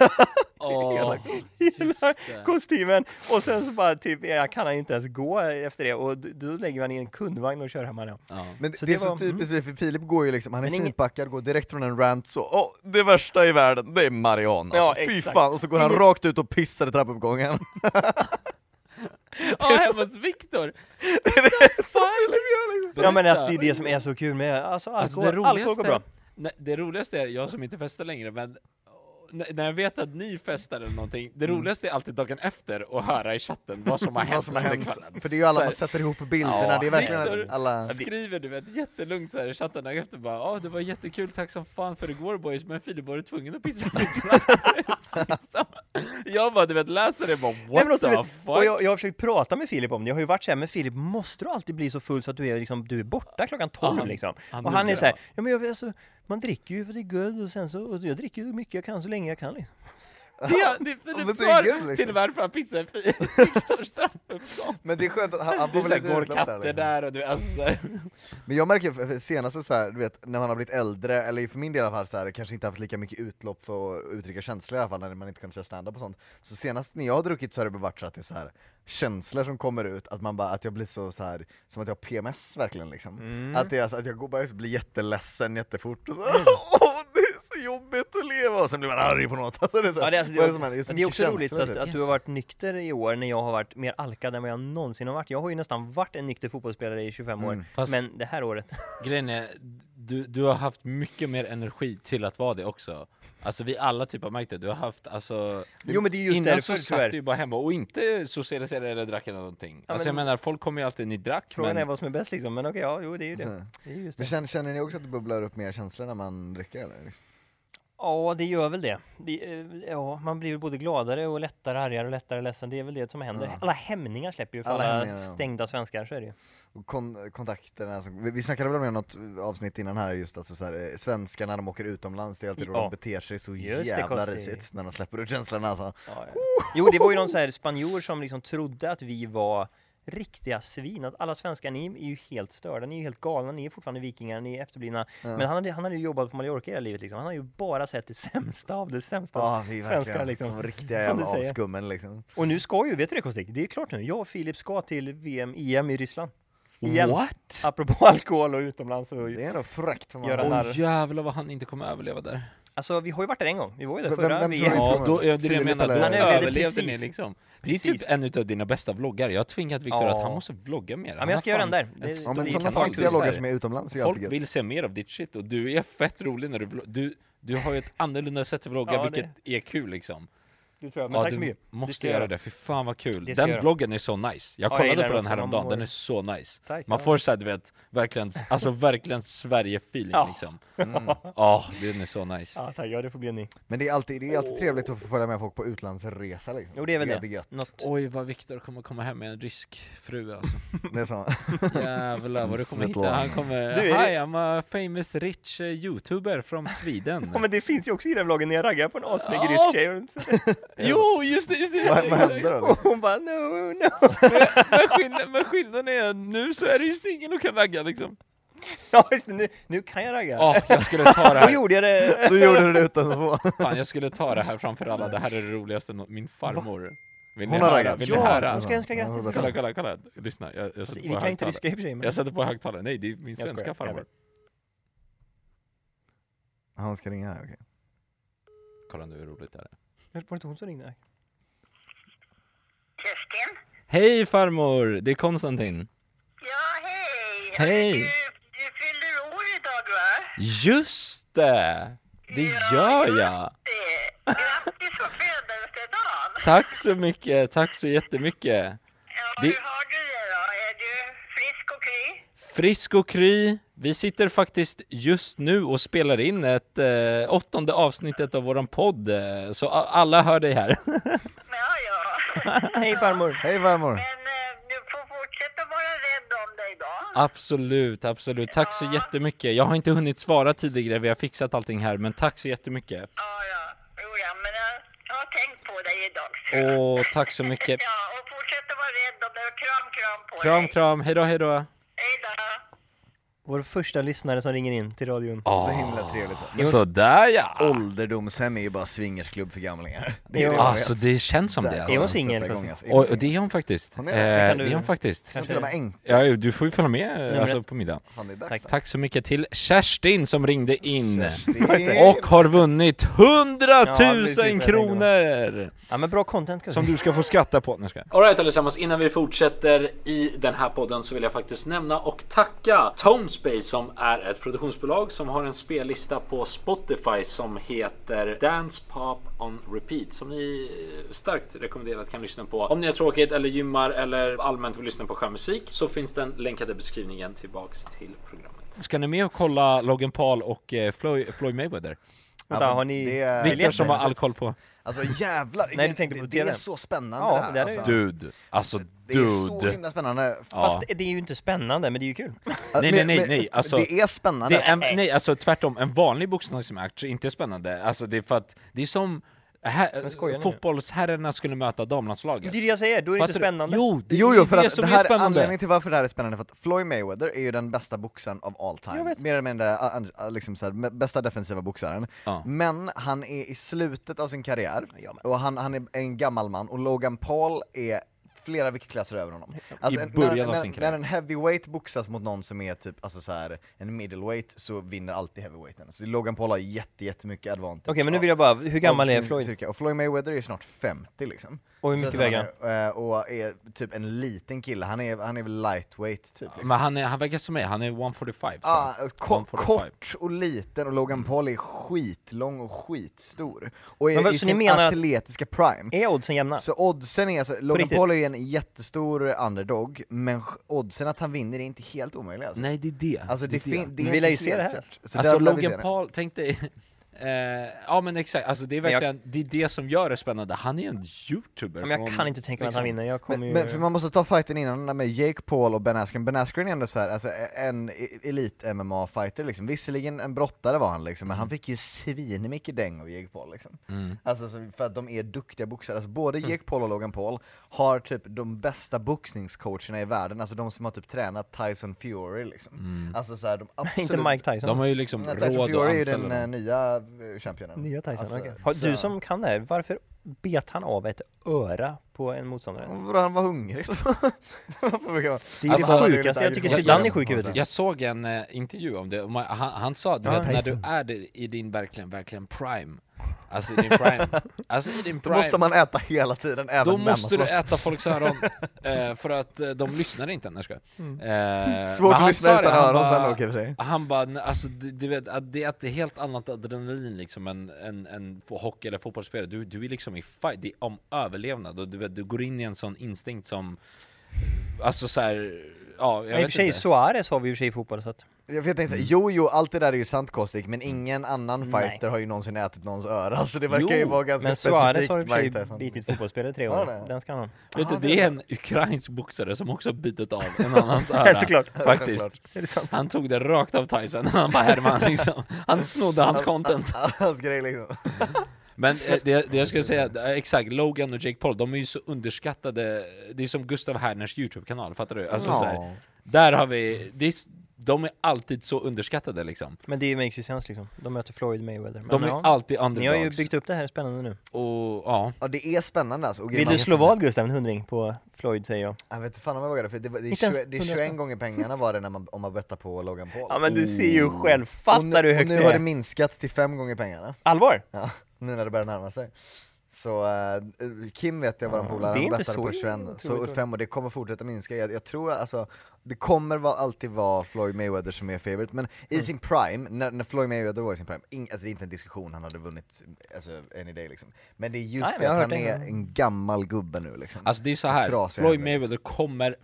Speaker 1: Åh, just
Speaker 3: hela
Speaker 1: det.
Speaker 3: kostymen och sen så bara typ, jag kan han inte ens gå efter det och d- då lägger man i en kundvagn och kör hem honom.
Speaker 1: Ja.
Speaker 2: Men
Speaker 3: Så
Speaker 2: det, är
Speaker 3: det
Speaker 2: så
Speaker 3: var- mm.
Speaker 2: typiskt, för Filip går ju liksom, han är
Speaker 3: Men ingen-
Speaker 2: svinpackad, går direkt från en rant så Åh, det värsta i världen, det är Marianne
Speaker 3: Ja,
Speaker 2: alltså, fy
Speaker 3: exakt.
Speaker 2: fan! Och så går han
Speaker 3: Ingen-
Speaker 2: rakt ut och pissar i trappuppgången.
Speaker 1: Ja, hemma hos Viktor!
Speaker 3: Ja men
Speaker 1: Berätta.
Speaker 3: alltså, det är det som är så kul med, alltså
Speaker 1: Alltså,
Speaker 3: alkohol,
Speaker 1: det,
Speaker 3: alkohol går bra.
Speaker 1: roligaste, nej, det roligaste är, jag som inte festar längre, men oh, n- när jag vet att ni festar eller någonting, det
Speaker 3: Mm.
Speaker 1: roligaste är alltid dagen efter att höra i chatten vad
Speaker 3: [laughs]
Speaker 1: som har hänt,
Speaker 2: Alltså, Vad som har
Speaker 1: under
Speaker 2: hänt.
Speaker 1: kvällen.
Speaker 2: För det är ju alla
Speaker 1: Så här,
Speaker 2: man sätter ihop bilderna,
Speaker 3: Ja,
Speaker 2: det är verkligen
Speaker 1: Victor-
Speaker 2: att alla...
Speaker 1: skriver du vet jättelugnt såhär i chatten dagen efter bara ja det var jättekul, tack som fan för igår boys, men Filip var du tvungen att pissa [laughs] liksom. Jag bara du vet läser det bara
Speaker 3: Nej,
Speaker 1: what
Speaker 3: men också,
Speaker 1: the
Speaker 3: vet- och
Speaker 1: fuck? [laughs]
Speaker 3: jag, jag har försökt prata med Filip om det, jag har ju varit såhär, men Filip måste du alltid bli så full så att du är, liksom, du är borta klockan 12
Speaker 1: Ja, han-
Speaker 3: liksom?
Speaker 1: han
Speaker 3: och han är
Speaker 1: gjorde
Speaker 3: såhär,
Speaker 1: det,
Speaker 3: ja men jag, alltså, man dricker ju för det är guld och sen så, och jag dricker ju så mycket jag kan så länge jag kan liksom.
Speaker 1: Det, det är
Speaker 2: Ja, men
Speaker 1: Filips
Speaker 2: så är
Speaker 1: svar
Speaker 2: det gud, liksom.
Speaker 1: till varför han pissar i
Speaker 2: [laughs]
Speaker 1: Viktors trappuppgång.
Speaker 2: Men det är skönt att han, han
Speaker 1: Det
Speaker 2: får
Speaker 1: är såhär,
Speaker 2: väl lite
Speaker 1: går
Speaker 2: utlopp där,
Speaker 1: katter
Speaker 2: liksom.
Speaker 1: där och du alltså såhär.
Speaker 2: Men jag märker för- för senaste så här, du vet, när man har blivit äldre, eller för min del i alla fall så här, kanske inte haft lika mycket utlopp för att uttrycka känslor i alla fall, när man inte kan köra stand-up och sånt. Så senast när jag har druckit så har det bara varit så att det är så här känslor som kommer ut, att man bara, att jag blir så, så här som att jag har PMS verkligen liksom. Att, det är, så att jag går bara och blir jätteledsen jättefort och så åh det är så jobbigt att leva! Och sen blir man arg på något. Alltså, det är så,
Speaker 3: Ja, det, är alltså,
Speaker 2: vad
Speaker 3: det,
Speaker 2: är som händer?
Speaker 3: men
Speaker 2: så
Speaker 3: det är
Speaker 2: mycket
Speaker 3: också roligt
Speaker 2: känslor,
Speaker 3: att,
Speaker 2: typ.
Speaker 3: att du har varit nykter i år när jag har varit mer alkad än vad jag någonsin har varit. Jag har ju nästan varit en nykter fotbollsspelare i 25 år,
Speaker 2: Mm.
Speaker 1: Fast-
Speaker 3: men det här året. [laughs]
Speaker 1: Grejen är, du, du har haft mycket mer energi till att vara det också. Alltså vi alla typ har märkt det, du har haft alltså
Speaker 3: Jo men det är just
Speaker 1: Innan
Speaker 3: därför
Speaker 1: så satt
Speaker 3: tyvärr.
Speaker 1: du ju bara hemma och inte socialiserade eller drack eller någonting. alltså jag
Speaker 3: men-
Speaker 1: menar, folk kommer ju alltid, ni drack
Speaker 3: Frågan
Speaker 1: men...
Speaker 3: är vad som är bäst liksom, men okej, ja, jo det är ju det.
Speaker 2: Så.
Speaker 3: det, är just
Speaker 2: Mm. Men
Speaker 3: det.
Speaker 2: känner, känner ni också att det bubblar upp mer känslor när man dricker eller? Liksom?
Speaker 3: Ja, det gör väl det. det eh, ja, man blir ju både gladare och lättare argare och lättare ledsen. Det är väl det som händer. Alla hämningar släpper ju för
Speaker 2: Alla
Speaker 3: alla,
Speaker 2: hämningar, ja.
Speaker 3: stängda svenskar, så är det ju.
Speaker 2: Och kon- kontakterna, som, vi, vi snackade väl om det i något avsnitt innan här just alltså så här, eh, svenskar när de åker utomlands, det är alltid då
Speaker 3: Ja.
Speaker 2: de beter sig så
Speaker 3: Just det,
Speaker 2: jävla
Speaker 3: Kosti.
Speaker 2: risigt när de släpper ut känslorna alltså.
Speaker 3: Ja, ja. Jo, det var ju någon så här spanjor som liksom trodde att vi var riktiga svin. Att alla svenskar, ni är ju helt störda, ni är ju helt galna, ni är fortfarande vikingar, ni är efterblivna. Men han hade, han hade ju jobbat på Mallorca hela livet liksom. Han har ju bara sett det sämsta av det sämsta.
Speaker 2: Ja, vi är verkligen
Speaker 3: Svenskar, liksom.
Speaker 2: de riktiga
Speaker 3: Som
Speaker 2: jävla
Speaker 3: du säger.
Speaker 2: avskummen liksom.
Speaker 3: Och nu ska ju, vet du det Kostik? Det är klart nu. Jag och Filip ska till VM, EM i Ryssland. Igen.
Speaker 1: What?
Speaker 3: Apropå [laughs] alkohol och utomlands och
Speaker 2: Det är ändå fräckt. får man
Speaker 3: Göra
Speaker 2: säga.
Speaker 3: narr.
Speaker 1: Åh jävlar vad han inte kommer överleva där.
Speaker 3: Alltså vi har ju varit där en gång, vi var ju där
Speaker 2: Vem-
Speaker 3: förra
Speaker 2: vem tror
Speaker 3: VM.
Speaker 2: du?
Speaker 1: Ja, då, ja, det är det
Speaker 2: Filip
Speaker 1: jag menar, då
Speaker 2: eller- Han
Speaker 3: överlevde
Speaker 1: överlevde ni
Speaker 3: precis.
Speaker 1: liksom. Det är
Speaker 3: Precis.
Speaker 1: typ en utav dina bästa vloggar, jag har tvingat Viktor
Speaker 3: Ja.
Speaker 1: att han måste vlogga mer.
Speaker 3: Ja
Speaker 1: Han
Speaker 3: men jag
Speaker 1: har
Speaker 3: ska göra
Speaker 1: fan-
Speaker 3: den där. Det,
Speaker 2: Ja men sådana
Speaker 3: det kan ta en
Speaker 2: saftiga
Speaker 1: faktiskt-
Speaker 3: kurs
Speaker 2: loggar
Speaker 3: där.
Speaker 2: som är utomlands är ju
Speaker 1: Folk
Speaker 2: alltid
Speaker 1: vill
Speaker 2: gött.
Speaker 1: se mer av ditt shit och du är fett rolig när du vloggar. Du, du har ju ett annorlunda sätt att vlogga
Speaker 3: Ja, det-
Speaker 1: vilket är kul liksom.
Speaker 3: Det tror jag, men
Speaker 1: Ja,
Speaker 3: tack så
Speaker 1: du
Speaker 3: mycket. Det
Speaker 1: måste
Speaker 3: ska
Speaker 1: göra
Speaker 3: jag
Speaker 1: det, för fan vad kul.
Speaker 3: Det ska jag
Speaker 1: Den
Speaker 3: göra.
Speaker 1: vloggen är så nice. Jag
Speaker 3: Ja, jag
Speaker 1: kollade
Speaker 3: gillar
Speaker 1: på
Speaker 3: den
Speaker 1: den
Speaker 3: också. Man
Speaker 1: häromdagen,
Speaker 3: mår-
Speaker 1: den är så nice.
Speaker 3: Tack,
Speaker 1: Man
Speaker 3: ja.
Speaker 1: får såhär du vet, verkligen, alltså verkligen Sverige-feeling
Speaker 3: Ja. [laughs]
Speaker 1: liksom.
Speaker 3: Mm.
Speaker 1: Ja, den är så nice.
Speaker 3: Ja tack, ja det får bli en ny.
Speaker 2: Men det är alltid, det är alltid trevligt att få följa med folk på utlandsresa liksom.
Speaker 3: Jo det är väl
Speaker 2: alltid
Speaker 3: det.
Speaker 2: gött.
Speaker 3: Något.
Speaker 1: Oj vad Viktor kommer komma hem med en rysk fru alltså.
Speaker 2: Det är så.
Speaker 1: Jävlar vad du kommer hitta,
Speaker 2: Svetlana.
Speaker 1: han kommer
Speaker 3: Du, är det-
Speaker 1: Hi I'm a famous rich eh, youtuber from Sweden
Speaker 3: Ja men det finns ju också i den vloggen när jag raggar på en assnygg
Speaker 1: Ja.
Speaker 3: rysk tjej och-
Speaker 1: Jo just det, just det!
Speaker 2: vad,
Speaker 3: [laughs]
Speaker 2: vad händer då?
Speaker 3: och [laughs] hon bara no, no. [laughs]
Speaker 1: Men, skillnaden, men skillnaden är att nu så är det ju singel och kan ragga liksom
Speaker 3: Ja just det, nu, nu kan jag ragga.
Speaker 1: Ja, jag skulle ta det
Speaker 3: [laughs] Då
Speaker 1: här,
Speaker 3: gjorde jag
Speaker 1: [laughs]
Speaker 3: det.
Speaker 2: Du gjorde det utan att få.
Speaker 1: fan jag skulle ta det här framför alla, det här är det roligaste nå- min farmor Vill ni
Speaker 2: Hon har
Speaker 1: höra?
Speaker 2: raggat.
Speaker 1: Vill ni
Speaker 3: Ja,
Speaker 1: höra?
Speaker 3: hon ska önska grattis.
Speaker 2: Ja,
Speaker 1: Kolla, kolla, kolla, lyssna, jag, jag
Speaker 3: Alltså,
Speaker 1: sätter på
Speaker 3: vi kan ju inte
Speaker 1: högtalare
Speaker 3: ryska i och för sig men...
Speaker 1: Jag sätter på högtalare, nej det är min
Speaker 3: Jag skojar,
Speaker 1: svenska
Speaker 3: jag
Speaker 1: farmor
Speaker 3: vet.
Speaker 2: Han ska ringa här, okej.
Speaker 1: Kolla nu hur roligt det här är
Speaker 3: Var det inte hon som ringde?
Speaker 4: Kerstin?
Speaker 1: Hej farmor, det är Konstantin
Speaker 4: Ja, hej!
Speaker 1: Hej.
Speaker 4: Du, du fyller år idag, va?
Speaker 1: Just det! Det gör jag!
Speaker 4: Eh, Grattis på födelsedagen!
Speaker 1: Tack så mycket, tack så jättemycket!
Speaker 4: Ja, hur har du
Speaker 1: Det-
Speaker 4: det då? Är du frisk och kry?
Speaker 1: Frisk och kry, vi sitter faktiskt just nu och spelar in ett eh, åttonde avsnittet av våran podd, eh, så a- alla hör dig här. [laughs]
Speaker 4: Ja, ja.
Speaker 3: [laughs] Hej farmor!
Speaker 2: Hej farmor!
Speaker 4: Men eh, du får fortsätta vara rädd om dig då.
Speaker 1: absolut, absolut, tack så jättemycket. Jag har inte hunnit svara tidigare, vi har fixat allting här, men tack så jättemycket.
Speaker 4: Ja, ja. Jo, ja, men jag, jag har tänkt på dig idag.
Speaker 1: Och tack så mycket.
Speaker 4: Ja, och fortsätt att vara rädd om dig. och Kram, kram på
Speaker 1: Kram,
Speaker 4: dig.
Speaker 1: kram, hejdå, hejdå.
Speaker 4: Hej då.
Speaker 3: Vår första lyssnare som ringer in till radion.
Speaker 2: Så himla trevligt.
Speaker 1: Sådär ja!
Speaker 2: Ålderdomshem är ju bara swingersklubb för gamlingar. Det
Speaker 3: Jo.
Speaker 2: det jag
Speaker 1: Alltså
Speaker 2: vet.
Speaker 1: det känns som
Speaker 2: Där
Speaker 1: det
Speaker 2: kan
Speaker 3: Är
Speaker 1: alltså.
Speaker 3: hon
Speaker 2: man
Speaker 3: singel,
Speaker 2: sätta igång,
Speaker 3: Kristin?
Speaker 2: alltså. Är hon
Speaker 1: Och, och
Speaker 2: singel?
Speaker 1: det är hon faktiskt. Eh,
Speaker 2: Hon
Speaker 1: det
Speaker 2: är det. Det
Speaker 3: kan du-
Speaker 1: är hon faktiskt.
Speaker 2: Hon är till och med äng.
Speaker 1: Ja, jo, du får ju följa med eh, alltså,
Speaker 3: ett.
Speaker 1: på middag.
Speaker 2: Fan, det är dags
Speaker 3: Tack.
Speaker 2: där.
Speaker 1: Tack så mycket till Kerstin som ringde in
Speaker 2: Kerstin.
Speaker 1: och har vunnit 100 000
Speaker 3: Ja, precis, jag tänkte
Speaker 1: kronor!
Speaker 3: Ja men bra content
Speaker 1: [laughs]
Speaker 3: Kostik.
Speaker 1: Som du ska få skatta på. Nej, ska jag. Alright allesammans, innan vi fortsätter i den här podden så vill jag faktiskt nämna och tacka Tonespace som är ett produktionsbolag som har en spellista på Spotify som heter Dance Pop on Repeat som ni eh, starkt rekommenderat kan lyssna på. Om ni har tråkigt eller gymmar eller allmänt vill lyssna på skön musik så finns den länkade i beskrivningen tillbaks till programmet. Ska ni med och kolla Logan Paul och eh, Floyd, Mayweather?
Speaker 3: Vänta, har ni...
Speaker 2: det är-
Speaker 3: biljetter?
Speaker 2: Viktor som har all
Speaker 1: koll på.
Speaker 2: Alltså jävlar!
Speaker 3: Nej, du tänkte på
Speaker 2: det, det är
Speaker 3: TV:n.
Speaker 2: så spännande
Speaker 3: Ja,
Speaker 2: det här.
Speaker 3: det är det
Speaker 2: alltså.
Speaker 1: Dude, alltså
Speaker 2: Det är så himla spännande.
Speaker 3: Fast det är ju inte spännande, men det är ju kul.
Speaker 1: Nej, nej,
Speaker 2: Men-
Speaker 1: nej,
Speaker 2: men-
Speaker 1: nej, alltså-
Speaker 2: det är spännande.
Speaker 1: Det är, en- nej, alltså tvärtom. En vanlig boxningsmatch är inte spännande. Alltså det är för att det är som
Speaker 3: skojar
Speaker 1: här,
Speaker 3: ni nu?
Speaker 1: fotbollsherrarna skulle möta damlandslaget.
Speaker 3: Det är det jag säger, då är det inte
Speaker 1: Fattar du?
Speaker 3: spännande.
Speaker 1: Jo, det
Speaker 2: Jo,
Speaker 1: är
Speaker 2: jo, för
Speaker 1: det
Speaker 2: att
Speaker 1: som är
Speaker 2: det här, anledningen
Speaker 1: spännande.
Speaker 2: till varför det här är spännande är för att Floyd Mayweather är ju den bästa boxaren of all time. Mer eller mindre, ah, ah, liksom så här, me- bästa defensiva boxaren.
Speaker 1: Ja.
Speaker 2: Men han är i slutet av sin karriär,
Speaker 3: Ja, men-
Speaker 2: och han, han är en gammal man, och Logan Paul är flera viktklasser över honom. Alltså, en-
Speaker 1: början
Speaker 2: när,
Speaker 1: av
Speaker 2: när,
Speaker 1: sin karriär.
Speaker 2: När en heavyweight boxas mot någon som är typ, alltså så här, en middleweight, så vinner alltid heavyweighten. Så Logan Paul har jätte, jättemycket advantage.
Speaker 3: Okej, men nu
Speaker 2: av-
Speaker 3: vill jag bara, hur gammal
Speaker 2: av
Speaker 3: är
Speaker 2: sin
Speaker 3: Floyd?
Speaker 2: styrka. Och Floyd Mayweather är snart 50 liksom.
Speaker 3: Och hur
Speaker 2: Så
Speaker 3: mycket
Speaker 2: att han
Speaker 3: väger
Speaker 2: är, eh, Och är typ en liten kille, han är, han är väl lightweight typ. Liksom.
Speaker 1: Men han, är, han verkar som mig, han är 145. tror
Speaker 2: Ah,
Speaker 1: jag.
Speaker 2: ko-
Speaker 1: 145.
Speaker 2: kort och liten och Logan Paul är skitlång och skitstor. Och är
Speaker 3: Men vad-
Speaker 2: i
Speaker 3: så ni
Speaker 2: sin
Speaker 3: menar att-
Speaker 2: atletiska prime.
Speaker 3: Är oddsen jämna?
Speaker 2: Så oddsen är alltså, Logan
Speaker 3: riktigt?
Speaker 2: Paul är ju en jättestor underdog, men sch- oddsen att han vinner är inte helt omöjlig alltså.
Speaker 1: Nej, det är det.
Speaker 2: Alltså det,
Speaker 1: är
Speaker 2: fin- det är
Speaker 3: Vi
Speaker 2: inte
Speaker 3: lär ju se
Speaker 2: helt
Speaker 3: det här.
Speaker 2: säkert. Så där
Speaker 1: alltså
Speaker 2: lär vi se
Speaker 1: Logan
Speaker 2: det.
Speaker 1: Paul, tänk dig [laughs] Eh, ja men exakt, alltså det är
Speaker 3: Men jag-
Speaker 1: verkligen det, är det som gör det spännande. Han är en youtuber.
Speaker 3: Men jag
Speaker 1: från-
Speaker 3: kan inte tänka mig att han
Speaker 1: liksom-
Speaker 3: vinner, jag kommer
Speaker 2: Men,
Speaker 3: ju...
Speaker 2: men för man måste ta fighten innan med Jake Paul och Ben Askren. Ben Askren är ändå så här, alltså en e- elit MMA-fighter liksom. Visserligen en brottare var han liksom,
Speaker 3: Mm.
Speaker 2: men han fick ju svinmycket däng av Jake Paul liksom. Alltså så- för att de är duktiga boxare. Alltså både
Speaker 3: Mm.
Speaker 2: Jake Paul och Logan Paul har typ de bästa boxningscoacherna i världen, alltså de som har typ tränat Tyson Fury liksom. Alltså så här, de absolut...
Speaker 3: [laughs] Mm. [laughs] inte Mike Tyson.
Speaker 1: De har ju liksom
Speaker 2: Nej,
Speaker 1: råd
Speaker 2: Tyson
Speaker 1: att
Speaker 2: Fury Mm, är ju
Speaker 1: anställa
Speaker 2: den eh,
Speaker 1: dem.
Speaker 2: nya eh, championen.
Speaker 3: Nya Tyson,
Speaker 2: Alltså,
Speaker 3: okej. Har- Du
Speaker 2: så-
Speaker 3: som kan det här, varför bet han av ett öra på en motståndare?
Speaker 2: Vadå, han var hungrig [laughs] eller vad? Varför brukar man-
Speaker 3: Det är ju
Speaker 1: Alltså-
Speaker 3: det sjukaste, jag tycker
Speaker 1: Jag-
Speaker 3: Zidane är
Speaker 1: jag-
Speaker 3: sjuk i huvudet.
Speaker 1: Jag såg en eh, intervju om det, och man, han, han sa du
Speaker 3: Ja.
Speaker 1: vet, när du är där i din verkligen, verkligen prime, alltså i din
Speaker 2: [laughs]
Speaker 1: prime, alltså i din
Speaker 2: Då
Speaker 1: prime,
Speaker 2: måste man äta hela tiden, även
Speaker 1: då
Speaker 2: när man
Speaker 1: måste du
Speaker 2: slåss.
Speaker 1: äta folks
Speaker 2: [laughs]
Speaker 1: öron, eh, för att eh, de lyssnar inte annars. Mm. Eh,
Speaker 2: Svårt
Speaker 1: men
Speaker 2: att
Speaker 1: han
Speaker 2: lyssna
Speaker 1: sa det,
Speaker 2: utan
Speaker 1: han
Speaker 2: öron sen
Speaker 1: bara-
Speaker 2: dock i och för sig.
Speaker 1: Han bara, "Nej, alltså du, du vet, att det är ett helt annat adrenalin liksom än, än, än fo- hockey eller fotbollsspelare. Du, du är liksom i fight, det är om överlevnad och du, vet, du går in i en sån instinkt som, alltså såhär, ja jag
Speaker 3: Men I och
Speaker 1: vet
Speaker 3: för sig,
Speaker 1: inte.
Speaker 3: Suarez har vi i och för sig i fotboll så att...
Speaker 2: Jag vet inte, jo jo allt det där är ju sant Kostik, men ingen annan fighter har ju någonsin ätit någons öra, så det verkar ju
Speaker 1: Jo,
Speaker 2: vara ganska
Speaker 3: Men Suarez
Speaker 2: specifikt
Speaker 3: har i och
Speaker 2: Mike
Speaker 3: för sig
Speaker 2: Tyson. [laughs]
Speaker 3: bitit fotbollsspelare i tre
Speaker 2: Har han
Speaker 3: år,
Speaker 2: det?
Speaker 3: den ska han ha.
Speaker 1: Vet du,
Speaker 2: Aha, det
Speaker 1: det
Speaker 2: är
Speaker 1: är en ukrainsk boxare som också bitit av
Speaker 3: [laughs]
Speaker 1: en annans öra.
Speaker 3: såklart.
Speaker 1: Faktiskt.
Speaker 3: Är det sant?
Speaker 1: Han tog det rakt av Tyson, [laughs] han bara härmade liksom. Han snodde hans content.
Speaker 2: Hans grej liksom.
Speaker 1: Men eh, det, det jag skulle säga, eh, exakt, Logan och Jake Paul, de är ju så underskattade. Det är som Gustav Herners YouTube-kanal, fattar du? Alltså, så här, där har vi, det är, s- de är alltid så underskattade liksom.
Speaker 3: Men det makes ju sense liksom, de möter Floyd Mayweather. Men
Speaker 1: De är
Speaker 3: ja,
Speaker 1: alltid
Speaker 3: Ni har ju
Speaker 1: underdogs.
Speaker 3: byggt upp det här spännande nu.
Speaker 1: Och ja,
Speaker 2: Ja det är spännande alltså. Och
Speaker 3: Vill du
Speaker 2: man-
Speaker 3: slå vad Gustav, en hundring på Floyd säger jag.
Speaker 2: Jag vet inte fan om jag vågar, för det, var- det, är
Speaker 3: Inte ens
Speaker 2: 20, det är
Speaker 3: 100
Speaker 2: 21 gånger pengarna var det när man, om man bettar på Logan Paul.
Speaker 3: Ja men du ser ju själv, fattar
Speaker 2: och nu,
Speaker 3: du hur högt
Speaker 2: och nu har det minskat till fem gånger pengarna.
Speaker 3: Allvar?
Speaker 2: Ja, [laughs] nu när det börjar närma sig. Så eh, Kim vet jag var en polare,
Speaker 3: det är
Speaker 2: han
Speaker 3: inte
Speaker 2: bettade
Speaker 3: så
Speaker 2: på 21,
Speaker 3: otroligt
Speaker 2: så
Speaker 3: då.
Speaker 2: 5 och det kommer fortsätta minska. Jag, jag tror alltså, det kommer va, alltid vara Floyd Mayweather som är favorite, men
Speaker 3: Mm.
Speaker 2: i sin prime, när, när Floyd Mayweather var i sin prime, ing, alltså det är inte en diskussion, han hade vunnit alltså, any day liksom. Men det är just
Speaker 3: Nej, men
Speaker 2: det
Speaker 3: jag
Speaker 2: att
Speaker 3: har
Speaker 2: han
Speaker 3: hört det
Speaker 2: är
Speaker 3: innan.
Speaker 2: en gammal gubbe nu liksom.
Speaker 1: alltså det är så
Speaker 2: En
Speaker 1: här,
Speaker 2: trasig
Speaker 1: Floyd
Speaker 2: händer, liksom.
Speaker 1: Mayweather kommer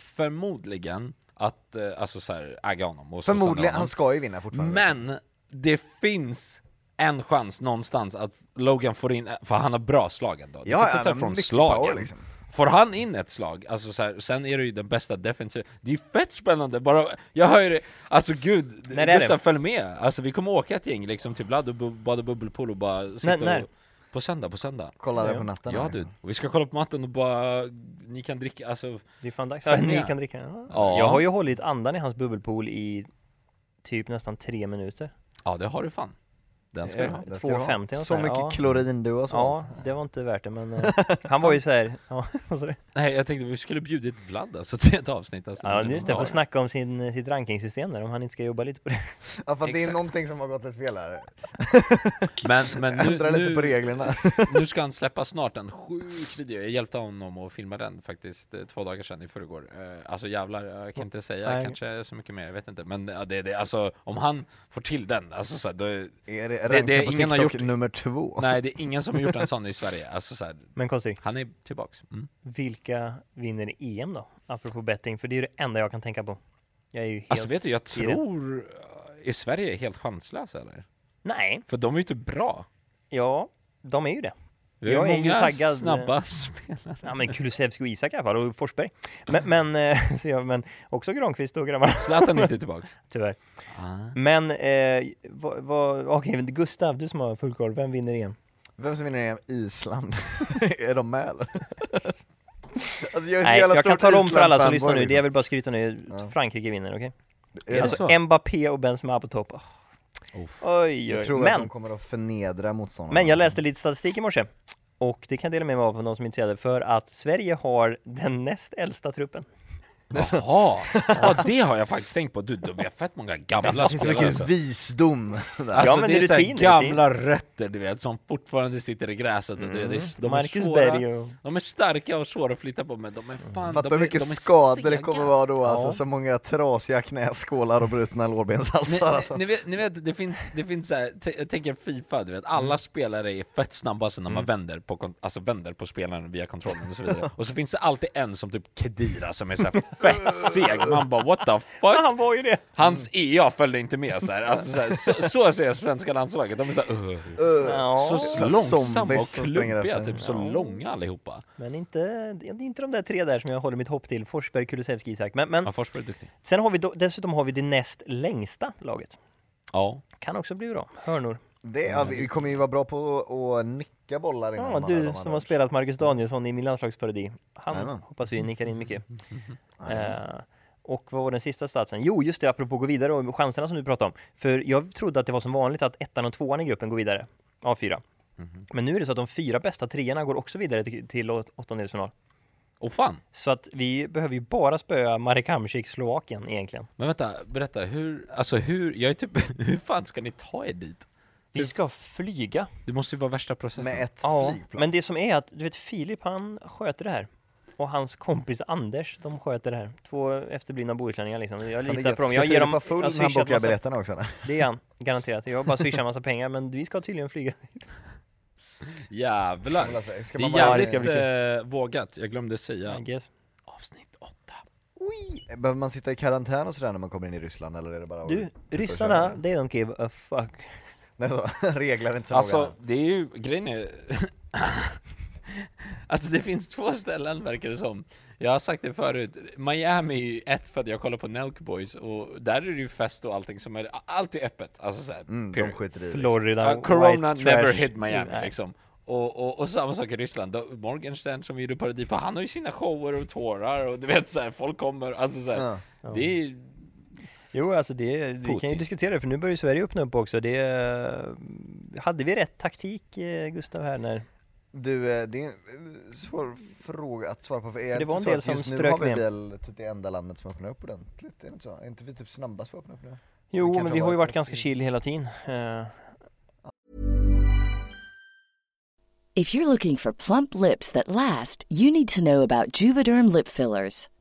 Speaker 1: förmodligen att, eh, alltså så här, agga honom och så stanna
Speaker 2: Förmodligen,
Speaker 1: honom.
Speaker 2: han ska ju vinna fortfarande. liksom.
Speaker 1: Men det finns en chans någonstans att Logan får in, för han har bra slag ändå. Du
Speaker 2: Ja,
Speaker 1: kan
Speaker 2: ja,
Speaker 1: inte ta
Speaker 2: han har
Speaker 1: ifrån
Speaker 2: mycket
Speaker 1: slagen.
Speaker 2: power, liksom.
Speaker 1: Får han in ett slag, alltså så här, sen är det ju den bästa defensiven. Det är fett spännande, bara, jag hör ju det, alltså gud,
Speaker 3: När är
Speaker 1: Gustav
Speaker 3: det?
Speaker 1: följ med! Alltså vi kommer åka ett gäng liksom till Vlad och bu- bada bubbelpool och bara sitta
Speaker 3: när?
Speaker 1: och... På söndag, på söndag.
Speaker 2: Kolla det på natten.
Speaker 1: Ja
Speaker 2: här,
Speaker 1: du,
Speaker 2: liksom.
Speaker 1: vi ska kolla på matten och bara, ni kan dricka, alltså
Speaker 3: Det är fan dags.
Speaker 1: Fan,
Speaker 3: ni
Speaker 1: ja.
Speaker 3: kan dricka. Ja.
Speaker 1: Ja.
Speaker 3: Jag har ju hållit andan i hans bubbelpool i typ nästan tre minuter.
Speaker 1: ja det har du fan. Den ska du ha.
Speaker 2: det ska du ha.
Speaker 3: 2,50 eller nåt
Speaker 2: Så
Speaker 3: där.
Speaker 2: mycket
Speaker 3: ja.
Speaker 2: klorin du har
Speaker 3: Ja,
Speaker 2: svalt.
Speaker 3: det var inte värt det
Speaker 2: [laughs]
Speaker 3: men eh, han var ju såhär, ja [laughs] vad sa du?
Speaker 1: Nej jag tänkte vi skulle bjudit Vlad alltså [laughs] till ett avsnitt alltså.
Speaker 3: Ja
Speaker 1: Det var
Speaker 3: just det,
Speaker 1: bara-
Speaker 3: får snacka om sin, sitt rankingsystem där, om han inte ska jobba lite på det. [laughs]
Speaker 2: Ja, fan, det är
Speaker 1: Exakt.
Speaker 2: någonting som har gått ett fel här.
Speaker 1: Men, men nu,
Speaker 2: Ändra lite
Speaker 1: nu,
Speaker 2: på reglerna.
Speaker 1: [laughs] nu ska han släppa snart en sjuk video, jag hjälpte honom att filma den faktiskt eh, två dagar sedan i förrgår Eh, Alltså jävlar, jag kan inte säga
Speaker 3: Nej.
Speaker 1: kanske så mycket mer, jag vet inte Men ja, det, det, alltså om han får till den, alltså så här, då,
Speaker 3: [laughs]
Speaker 1: är-
Speaker 2: Är det,
Speaker 1: det
Speaker 2: ranka på
Speaker 1: ingen har
Speaker 2: TikTok
Speaker 1: gjort-
Speaker 2: nummer två?
Speaker 1: Nej det är ingen som har gjort en sån i Sverige, alltså så här,
Speaker 3: Men Kostik,
Speaker 1: han är tillbaks mm.
Speaker 3: vilka vinner EM då? Apropå betting, för det är ju det enda jag kan tänka på. Jag är ju helt...
Speaker 1: Alltså vet du, jag tror, eh, är Sverige helt chanslösa eller?
Speaker 3: Nej,
Speaker 1: För de är ju inte bra
Speaker 3: ja, de är ju det.
Speaker 1: Vi har
Speaker 3: Jag är
Speaker 1: många
Speaker 3: ju taggad.
Speaker 1: snabba [laughs] spelare
Speaker 3: Ja men Kulusevski och Isak i alla fall, och Forsberg. Men, men, eh, [laughs] så jag, men också Granqvist och grabbarna, [laughs]
Speaker 1: Zlatan är inte tillbaks
Speaker 3: tyvärr.
Speaker 1: ah.
Speaker 3: Men, eh, vad, vad, okej Gustav, du som har full koll, vem vinner EM?
Speaker 2: Vem som vinner EM? Island. [laughs] är de med eller? alltså, jag är så
Speaker 3: Nej,
Speaker 2: jävla
Speaker 3: jag kan
Speaker 2: stort
Speaker 3: tala om för alla
Speaker 2: Island-fanboy,
Speaker 3: som lyssnar nu, det jag
Speaker 2: liksom.
Speaker 3: vill bara skryta nu, Frankrike vinner, okej?
Speaker 2: Är det
Speaker 3: Alltså
Speaker 2: så?
Speaker 3: Mbappé och Benzema på topp. Oh. Oj,
Speaker 2: Jag
Speaker 3: oj,
Speaker 2: tror att de
Speaker 3: men,
Speaker 2: kommer att förnedra motståndarna.
Speaker 3: men jag läste lite statistik i morse, och det kan jag dela med mig av för någon som är intresserad, för att Sverige har den näst äldsta truppen.
Speaker 1: Jaha, ja, det har jag faktiskt tänkt på. Du, du vi har fett många gamla
Speaker 2: Alltså, det finns så
Speaker 1: spelare.
Speaker 2: mycket
Speaker 1: Alltså.
Speaker 2: visdom där.
Speaker 1: Alltså,
Speaker 3: Ja, men
Speaker 1: det är
Speaker 3: rutin,
Speaker 1: så här
Speaker 3: rutin.
Speaker 1: gamla rötter du vet, som fortfarande sitter i gräset. Och, du vet,
Speaker 2: Mm.
Speaker 1: det- de, är
Speaker 3: Marcus
Speaker 1: svåra,
Speaker 3: Berg och...
Speaker 1: de är starka och svåra att flytta på, men de är fan...
Speaker 2: Fattar
Speaker 1: de
Speaker 2: hur
Speaker 1: är,
Speaker 2: mycket
Speaker 1: de är
Speaker 2: skador det
Speaker 1: sega.
Speaker 2: kommer vara då alltså,
Speaker 3: Ja.
Speaker 2: så många trasiga knäskålar och brutna
Speaker 1: Ni,
Speaker 2: lårbenshalsar alltså.
Speaker 1: ni, ni, vet, ni vet, det finns, det finns så här, t- jag tänker Fifa, du vet, alla
Speaker 2: Mm.
Speaker 1: spelare är fett snabba alltså, när man vänder
Speaker 2: [laughs]
Speaker 1: på, kon- alltså vänder på spelaren via kontrollen och så vidare. Och så finns det alltid en som typ Kedira som är så här
Speaker 2: [laughs]
Speaker 1: fettseg. Man bara what the fuck?
Speaker 3: [laughs] Han var ju det.
Speaker 1: Hans EA följde inte med så här. Alltså, så, här så, så ser svenska landslaget. De är så, här, "Ugh."
Speaker 3: Ja.
Speaker 1: så långsamma och
Speaker 2: zombies som springer
Speaker 1: klubbiga,
Speaker 2: efter.
Speaker 1: typ så långa allihopa.
Speaker 3: Men inte, det är inte de där tre där som jag håller mitt hopp till. Forsberg, Kulusevski, Isak. Men, men
Speaker 1: Ja, Forsberg är duktig.
Speaker 3: sen har vi då, dessutom har vi det näst längsta laget.
Speaker 1: Ja.
Speaker 3: Kan också bli bra. Hörnor.
Speaker 2: Det, ja, vi vi kommer ju vara bra på att- att nicka bollar innan
Speaker 3: Ja,
Speaker 2: man
Speaker 3: du
Speaker 2: hör dem
Speaker 3: som har
Speaker 2: annars.
Speaker 3: spelat Marcus Danielsson i min landslagsparodi. Han
Speaker 2: Jajamän.
Speaker 3: hoppas vi nickar in mycket. Eh, och vad var den sista satsen? Jo, just det, apropå gå vidare och chanserna som du pratade om. För jag trodde att det var som vanligt att ettan och tvåan i gruppen går vidare. A4. Men nu är det så att de fyra bästa treorna går också vidare till, till åt- åttondelsfinal.
Speaker 1: Och fan.
Speaker 3: Så att vi behöver ju bara spöa Marek Hamsik, Slovakien egentligen.
Speaker 1: Men vänta, berätta, hur, alltså hur, jag är typ, [laughs] hur fan ska ni ta er dit?
Speaker 3: Vi ska flyga.
Speaker 1: Det måste ju vara värsta processen.
Speaker 2: Med ett
Speaker 3: Ja,
Speaker 2: flygplan.
Speaker 3: men det som är att du vet Filip han sköter det här och hans kompis Anders de sköter det här. Två efterblivna bohuslänningar liksom.
Speaker 2: Han
Speaker 3: Jag
Speaker 2: är
Speaker 3: litar på
Speaker 2: jätte-
Speaker 3: dem.
Speaker 2: ska
Speaker 3: Jag ger
Speaker 2: Filip
Speaker 3: dem
Speaker 2: vara full
Speaker 3: jag
Speaker 2: när han
Speaker 3: swishar
Speaker 2: bokar
Speaker 3: massa,
Speaker 2: biljetterna också eller?
Speaker 3: Det är han garanterat. Jag bara swishar massa pengar men vi ska tydligen flyga.
Speaker 1: Jävlar!
Speaker 2: Vill jag säga. Ska
Speaker 1: Det
Speaker 2: man
Speaker 1: är
Speaker 2: bara-
Speaker 1: jävligt
Speaker 3: Ja, det ska
Speaker 1: eh, vågat, jag glömde säga.
Speaker 3: I guess.
Speaker 1: Avsnitt 8.
Speaker 2: Behöver man sitta i karantän och sådär när man kommer in i Ryssland eller är det bara
Speaker 3: Du,
Speaker 2: att typ
Speaker 3: ryssarna they don't give a fuck.
Speaker 2: Nej, så, [laughs] regler är inte så
Speaker 1: Alltså,
Speaker 2: noga. Mm,
Speaker 1: det är ju, grejen är... [laughs] alltså det finns två ställen verkar det som. Jag har sagt det förut, Miami är ju ett för att jag kollar på Nelk Boys och där är det ju fest och allting som är, allt är öppet. Alltså såhär,
Speaker 2: mm, de
Speaker 1: period.
Speaker 2: skiter i det.
Speaker 3: Florida,
Speaker 1: Ja, corona
Speaker 3: white trash.
Speaker 1: never hit Miami
Speaker 3: Nej.
Speaker 1: liksom. Och, och, och samma sak i Ryssland, Då- Morgenstern som vi gjorde parodi på, han har ju sina shower och tårar och du vet såhär, folk kommer, alltså såhär, det är
Speaker 3: Jo, alltså det, vi kan ju
Speaker 1: Putin.
Speaker 3: diskutera det för nu börjar ju Sverige öppna upp också. Det, eh, hade vi rätt taktik eh, Gustav här när
Speaker 2: Du, eh, det är en eh, svår fråga att svara på för är
Speaker 3: det
Speaker 2: det
Speaker 3: var en
Speaker 2: inte så
Speaker 3: del
Speaker 2: att
Speaker 3: som
Speaker 2: just nu
Speaker 3: strök
Speaker 2: har vi
Speaker 3: med.
Speaker 2: väl typ det enda landet som öppnar upp ordentligt? Är det inte så? Är inte vi typ snabbast på att öppna upp nu?
Speaker 3: Jo,
Speaker 2: kanske
Speaker 3: men vi har ju varit ganska
Speaker 2: i-
Speaker 3: chill hela tiden. Eh,
Speaker 5: If you're looking for plump lips that last, you need to know about Juvederm lip fillers.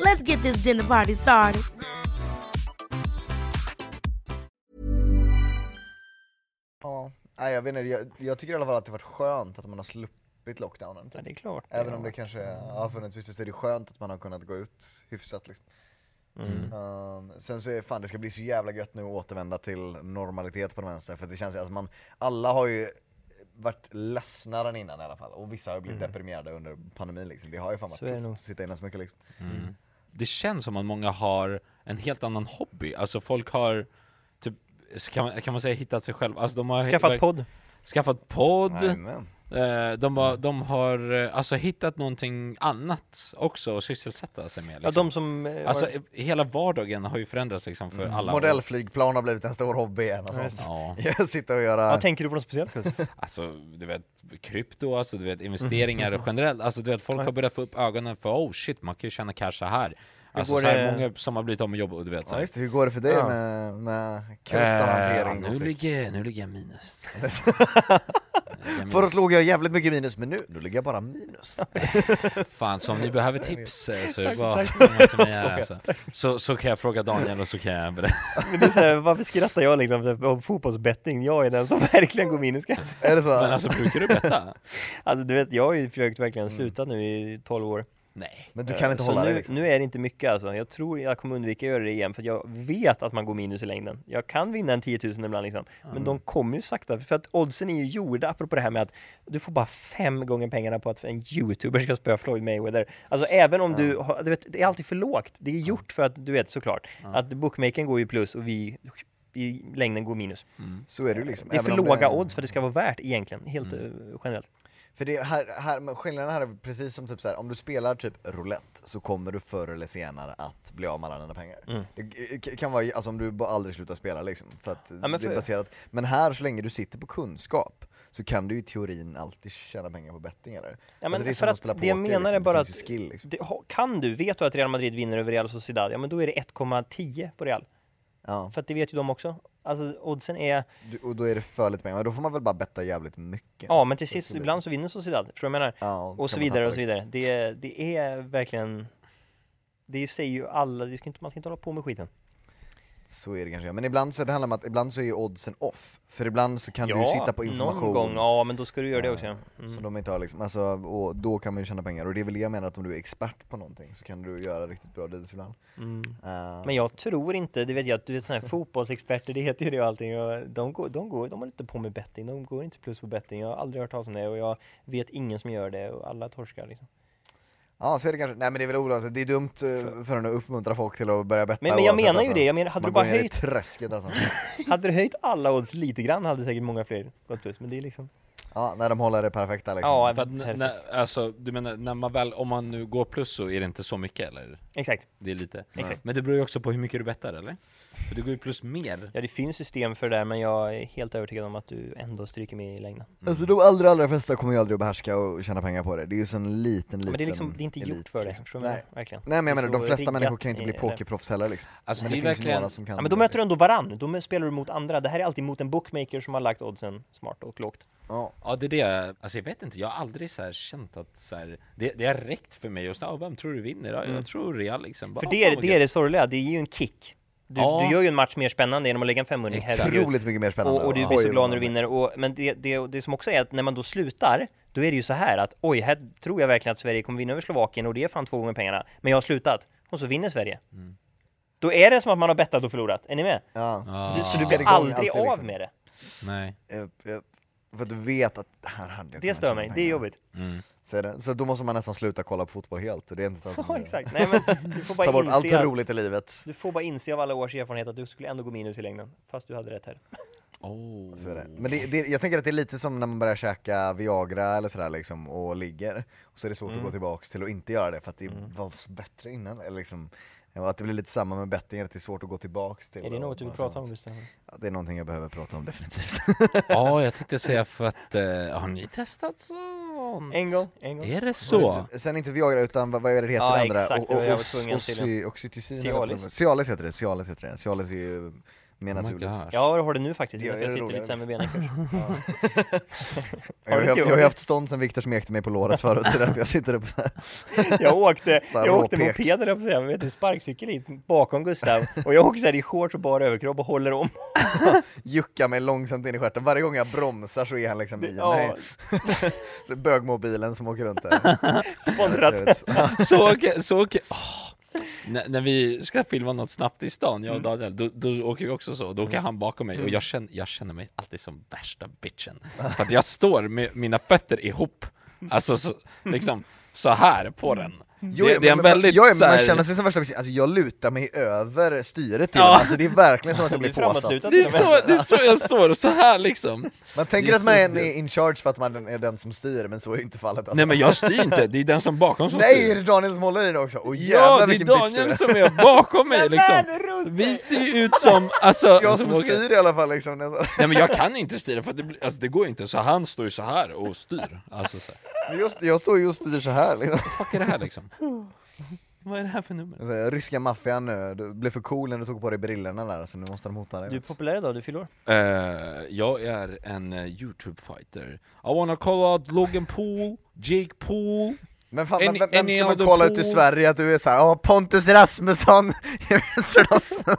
Speaker 6: Let's get this dinner party started.
Speaker 2: Ja, nej jag vet inte, jag, jag tycker i alla fall att det varit skönt att man har sluppit lockdownen.
Speaker 3: ja,
Speaker 2: Typ.
Speaker 3: det är klart.
Speaker 2: Även om det kanske har funnits vissa så är det skönt att man har kunnat gå ut hyfsat liksom.
Speaker 3: Mm.
Speaker 2: Ehm, sen så är fan det ska bli så jävla gött nu att återvända till normalitet på de vänster för det känns ju att man, alla har ju varit ledsnare än innan i alla fall och vissa har ju blivit deprimerade under pandemin liksom. Det har ju fan varit
Speaker 3: Mm. Så är det
Speaker 2: tufft
Speaker 3: nog.
Speaker 2: att sitta inne så mycket liksom.
Speaker 1: det känns som att många har en helt annan hobby. Alltså folk har, typ, kan man, kan man säga hittat sig själv? Alltså de har
Speaker 3: Skaffat podd.
Speaker 1: skaffat podd
Speaker 2: Jajamän.
Speaker 1: eh, de, har, de har eh, alltså hittat någonting annat också att sysselsätta sig med.
Speaker 3: Ja,
Speaker 1: Liksom.
Speaker 3: de som... eh,
Speaker 1: Alltså
Speaker 3: var-
Speaker 1: eh, hela vardagen har ju förändrats liksom för
Speaker 2: Mm.
Speaker 1: alla.
Speaker 2: Modellflygplan har blivit en stor hobby igen och sånt.
Speaker 3: [laughs]
Speaker 1: Ja,
Speaker 2: [laughs] Sitta och göra...
Speaker 3: ja, tänker du på något speciellt? Gustav?
Speaker 1: alltså du vet krypto, alltså du vet
Speaker 3: Mm.
Speaker 1: investeringar generellt, alltså du vet folk har börjat få upp ögonen för oh shit man kan ju tjäna cash så här. Alltså
Speaker 3: går
Speaker 1: så här,
Speaker 3: det-
Speaker 1: många som har blivit av med jobb och du vet så
Speaker 2: Ja
Speaker 1: här.
Speaker 2: just det, hur går det för dig
Speaker 3: Ja. Äh,
Speaker 2: med, med
Speaker 1: Eh,
Speaker 2: kryptohantering?
Speaker 1: nu,
Speaker 2: Gustav?
Speaker 3: [laughs]
Speaker 1: ligger, nu ligger jag minus. minus.
Speaker 2: Förut låg jag jävligt mycket minus, men nu, nu ligger jag bara
Speaker 3: [laughs]
Speaker 2: minus.
Speaker 1: Fan, så om ni behöver tips eh, så är det bara att komma till mig här alltså. så, så kan jag fråga Daniel och så kan jag berätta.
Speaker 3: Men det är så här, varför skrattar jag liksom om fotbollsbetting? Jag är den som [laughs] verkligen går minus kan jag säga.
Speaker 2: Är det så?
Speaker 1: Men alltså brukar du
Speaker 3: [laughs]
Speaker 1: betta?
Speaker 3: Alltså du vet, jag har ju försökt verkligen
Speaker 1: Mm.
Speaker 3: sluta nu i 12 år.
Speaker 1: Nej.
Speaker 2: Men du kan inte
Speaker 3: Eh, så
Speaker 2: hålla
Speaker 3: nu,
Speaker 2: det liksom.
Speaker 3: nu är det inte mycket alltså. Jag tror jag kommer undvika att göra det igen för att jag vet att man går minus i längden. Jag kan vinna en 10 000 ibland liksom. Men
Speaker 2: Mm.
Speaker 3: de kommer ju sakta, för att oddsen är ju gjorda, apropå det här med att du får bara fem gånger pengarna på att en youtuber ska spöa Floyd Mayweather. Alltså även om du, har, du vet, det är alltid för lågt. Det är gjort för att, du vet såklart, att bookmakern går ju plus och vi i längden går minus.
Speaker 2: Så är Mm. det ju liksom.
Speaker 3: Det är
Speaker 2: även
Speaker 3: för
Speaker 2: om
Speaker 3: låga odds för det ska vara värt egentligen, helt eh, generellt.
Speaker 2: För det här, här, men skillnaden här är precis som typ så här, om du spelar typ roulette så kommer du förr eller senare att bli av med alla dina pengar.
Speaker 3: Mm.
Speaker 2: Det k- kan vara, alltså om du bara aldrig slutar spela liksom, för att
Speaker 3: men
Speaker 2: det
Speaker 3: för-
Speaker 2: är baserat. Men här, så länge du sitter på kunskap så kan du i teorin alltid tjäna pengar på betting eller?
Speaker 3: Ja, men
Speaker 2: Alltså,
Speaker 3: för att det jag menar är
Speaker 2: liksom.
Speaker 3: bara
Speaker 2: det
Speaker 3: att
Speaker 2: finns ju skill liksom.
Speaker 3: det, ha- kan du, vet du att Real Madrid vinner över Real Sociedad, ja men då är det 1,10 på Real.
Speaker 2: Ja,
Speaker 3: För att det vet ju de också. Alltså oddsen är,
Speaker 2: du, och då är det för lite pengar, men då får man väl bara betta jävligt mycket.
Speaker 3: ja men till sist,
Speaker 2: så blir det.
Speaker 3: ibland så vinner Sociedad, förstår du vad jag menar?
Speaker 2: Ja, kan
Speaker 3: och så
Speaker 2: man liksom.
Speaker 3: vidare
Speaker 2: tappa,
Speaker 3: och så vidare. Det, det är verkligen, det säger ju alla, det ska inte, man ska inte hålla på med skiten.
Speaker 2: Så är det kanske, men ibland så, det handlar om att ibland så är ju oddsen off. För ibland så kan
Speaker 3: ja,
Speaker 2: du ju sitta på information.
Speaker 3: någon gång, ja men då ska du göra det också. ja.
Speaker 2: Så
Speaker 3: Mm.
Speaker 2: de inte har liksom, alltså, och då kan man ju tjäna pengar. Och det är väl det jag menar att om du är expert på någonting så kan du göra riktigt bra deals ibland.
Speaker 3: Mm.
Speaker 2: Eh,
Speaker 3: Men jag tror inte, det vet jag, du vet sådana här fotbollsexperter, det heter ju det och allting. Och de, går, de, går, de håller inte på med betting, de går inte plus på betting. Jag har aldrig hört talas om det och jag vet ingen som gör det och alla
Speaker 2: [laughs]
Speaker 3: torskar liksom.
Speaker 2: Ja så är det kanske, nej men det är väl olagligt, det är dumt eh, för att uppmuntra folk till att börja betta
Speaker 3: Men- men jag
Speaker 2: oavsett, alltså.
Speaker 3: menar ju det. Jag menar, hade
Speaker 2: man
Speaker 3: du bara
Speaker 2: går ner
Speaker 3: höjt-
Speaker 2: i träsket alltså.
Speaker 3: Hade du höjt alla odds lite grann hade säkert många fler gått plus, men det är liksom...
Speaker 2: ja, när de håller det perfekta liksom.
Speaker 3: Ja,
Speaker 1: För att, n-
Speaker 3: perfekt.
Speaker 1: när, alltså, du menar, när man väl, om man nu går plus så är det inte så mycket eller?
Speaker 3: Exakt.
Speaker 1: Det är lite?
Speaker 3: Exakt.
Speaker 1: Men det beror ju också på hur mycket du bettar eller? För du går ju plus mer.
Speaker 3: Ja, det finns system för det där, men jag är helt övertygad om att du ändå stryker med i längden.
Speaker 2: Alltså de allra allra flesta kommer ju aldrig att behärska och tjäna pengar på det. Det är ju så en liten liten
Speaker 3: Men det är liksom, det är inte
Speaker 2: elit,
Speaker 3: gjort för det,
Speaker 2: liksom.
Speaker 3: förstår du vad jag
Speaker 2: Nej.
Speaker 3: menar? Verkligen.
Speaker 2: Nej men jag
Speaker 3: Det är
Speaker 2: menar, de
Speaker 3: så
Speaker 2: flesta
Speaker 3: riggat
Speaker 2: människor kan ju inte
Speaker 3: i
Speaker 2: bli
Speaker 3: det.
Speaker 2: pokerproffs heller liksom.
Speaker 1: Alltså,
Speaker 2: men
Speaker 1: det är
Speaker 2: finns ju
Speaker 1: verkligen-
Speaker 2: några som kan
Speaker 3: Ja, men då möter du ändå varann, då spelar du mot andra. Det här är alltid mot en bookmaker som har lagt oddsen smart och lågt.
Speaker 2: Ja.
Speaker 1: Ja det är det, jag- alltså jag vet inte, jag har aldrig så här känt att så här, det, det har räckt för mig och så, ah, vem tror du vinner? Ja, jag tror Real liksom.
Speaker 3: Mm. För
Speaker 1: Bara,
Speaker 3: det är,
Speaker 1: fan,
Speaker 3: det
Speaker 1: vad
Speaker 3: är det sorgliga, det är ju en kick. Du,
Speaker 1: Ja.
Speaker 3: du gör ju en match mer spännande genom att lägga en 500 herregud.
Speaker 2: Otroligt mycket mer spännande.
Speaker 3: Och, och du blir så glad när du vinner. Och, men det, det, det som också är att när man då slutar, då är det ju så här att oj, här tror jag verkligen att Sverige kommer vinna över Slovakien och det är fan två gånger pengarna. Men jag har slutat och så vinner Sverige. Då är det som att man har bettat och förlorat. Är ni med?
Speaker 2: Ja.
Speaker 3: Du, så du
Speaker 2: Ah.
Speaker 3: blir
Speaker 2: Gång,
Speaker 3: aldrig
Speaker 2: alltid
Speaker 3: av
Speaker 2: liksom.
Speaker 3: med det.
Speaker 1: Nej.
Speaker 2: Japp, japp. Eh, För att du vet att det här handlar ju om
Speaker 3: Det
Speaker 2: att
Speaker 3: stör
Speaker 2: tjäna
Speaker 3: mig. Det är
Speaker 2: pengar.
Speaker 3: jobbigt.
Speaker 2: Så, är det. så då måste man nästan sluta kolla på fotboll helt. Det är inte så att
Speaker 3: [laughs] Ja,
Speaker 2: man-
Speaker 3: exakt. Nej, men du får
Speaker 2: Ta
Speaker 3: bara
Speaker 2: bort allt
Speaker 3: inse att,
Speaker 2: roligt i livet.
Speaker 3: du får bara inse av alla års erfarenhet att du skulle ändå gå minus i längden. Fast du hade rätt här.
Speaker 1: Oh.
Speaker 2: Så är det. Men det, det, jag tänker att det är lite som när man börjar käka Viagra eller sådär liksom och ligger. Och så är det svårt
Speaker 3: Mm.
Speaker 2: att gå tillbaks till att inte göra det för att det var så bättre innan. Eller liksom, och att det blir lite samma med betting, att det är svårt att gå tillbaks till.
Speaker 3: Är det
Speaker 2: och-
Speaker 3: något du vill
Speaker 2: och
Speaker 3: prata
Speaker 2: sånt.
Speaker 3: om Gustav?
Speaker 2: Ja, det är någonting jag behöver prata om definitivt.
Speaker 1: Ja, jag tänkte säga för att, eh, har ni testat sånt?
Speaker 3: En gång, en gång.
Speaker 1: Är det så?
Speaker 2: Sen inte Viagra utan vad, vad är det det heter
Speaker 3: Ja,
Speaker 2: det andra?
Speaker 3: exakt,
Speaker 2: och,
Speaker 3: det var
Speaker 2: och,
Speaker 3: jag
Speaker 2: och,
Speaker 3: var tvungen
Speaker 2: och,
Speaker 3: till.
Speaker 2: sy- oxytocin eller
Speaker 3: Cialis.
Speaker 2: något. Cialis heter det, Cialis heter det. Cialis är ju mer
Speaker 1: Oh my
Speaker 2: naturligt.
Speaker 1: gosh.
Speaker 3: Ja, det har det nu faktiskt.
Speaker 2: Det
Speaker 3: Jag
Speaker 2: är
Speaker 3: jag
Speaker 2: det
Speaker 3: sitter lite
Speaker 2: roligare.
Speaker 3: sämre ben i kurs.
Speaker 2: Jag,
Speaker 3: [laughs] Har du
Speaker 2: jag,
Speaker 3: inte
Speaker 2: jag har ju
Speaker 3: gjort?
Speaker 2: haft stånd sen Viktor smekte mig på låret förut så därför jag sitter upp så här.
Speaker 3: Jag åkte,
Speaker 2: Så här
Speaker 3: jag åkte
Speaker 2: råpek.
Speaker 3: moped höll jag på att säga, men vet du, sparkcykel hit bakom Gustav och jag åker så här i shorts och bar överkropp och håller om.
Speaker 2: Juckar mig långsamt in i stjärten. Varje gång jag bromsar så är han liksom i mig.
Speaker 3: Ja,
Speaker 2: Så bögmobilen som åker runt
Speaker 3: [laughs]
Speaker 2: där.
Speaker 3: sponsrat.
Speaker 1: [laughs] Så åker, så åker, åh. När, när vi ska filma något snabbt i stan, jag och Daniel, då, då åker vi också så, då åker han bakom mig och jag känner, jag känner mig alltid som värsta bitchen. För att jag står med mina fötter ihop, alltså så, liksom så här på den.
Speaker 2: Jo,
Speaker 1: det, det är en
Speaker 2: men-
Speaker 1: väldigt
Speaker 2: jo, men
Speaker 1: så här,
Speaker 2: man känner sig som värsta person. Alltså jag lutar mig över styret till
Speaker 1: Ja.
Speaker 2: ja. Alltså det är verkligen som att jag
Speaker 3: Du är
Speaker 2: blir påsatt.
Speaker 3: framåtlutad
Speaker 1: det,
Speaker 3: till
Speaker 1: är
Speaker 3: och med.
Speaker 1: så, det är så jag står, så här liksom.
Speaker 2: Man
Speaker 1: Det
Speaker 2: tänker
Speaker 1: är
Speaker 2: att man är
Speaker 1: så-
Speaker 2: in charge för att man är den som styr, men så är ju inte fallet alltså.
Speaker 1: Nej men jag styr inte, det är den som bakom som
Speaker 2: Nej, är
Speaker 1: styr.
Speaker 2: det Daniel som håller i det också? Åh jävlar
Speaker 1: Ja, det är
Speaker 2: vilken bitch du
Speaker 1: Daniel som är bakom mig liksom. Vi ser ju ut som, alltså...
Speaker 2: Jag som
Speaker 1: åker-
Speaker 2: styr i alla fall
Speaker 1: [laughs]
Speaker 2: liksom. nästan.
Speaker 1: Nej men jag kan inte styra för att det, blir- alltså, det går inte, så han står ju så här och styr. Alltså så här.
Speaker 2: Men jag st- Jag står ju och styr så här liksom.
Speaker 1: Fuck är det här liksom? Vad är det här för nummer?
Speaker 2: Alltså, ryska maffian nu, du blev för cool när du tog på dig brillorna där så nu måste de hota dig.
Speaker 3: Du är populär idag, du fyller år.
Speaker 1: Eh, jag är en eh, YouTube-fighter. I wanna call out Logan Paul, Jake Paul.
Speaker 2: men fan,
Speaker 1: Any-
Speaker 2: vem, vem
Speaker 1: any
Speaker 2: ska man
Speaker 1: other
Speaker 2: kolla ut i
Speaker 1: pool?
Speaker 2: Sverige att du är såhär Åh Pontus Rasmusson! [laughs] Jens Rasmusson."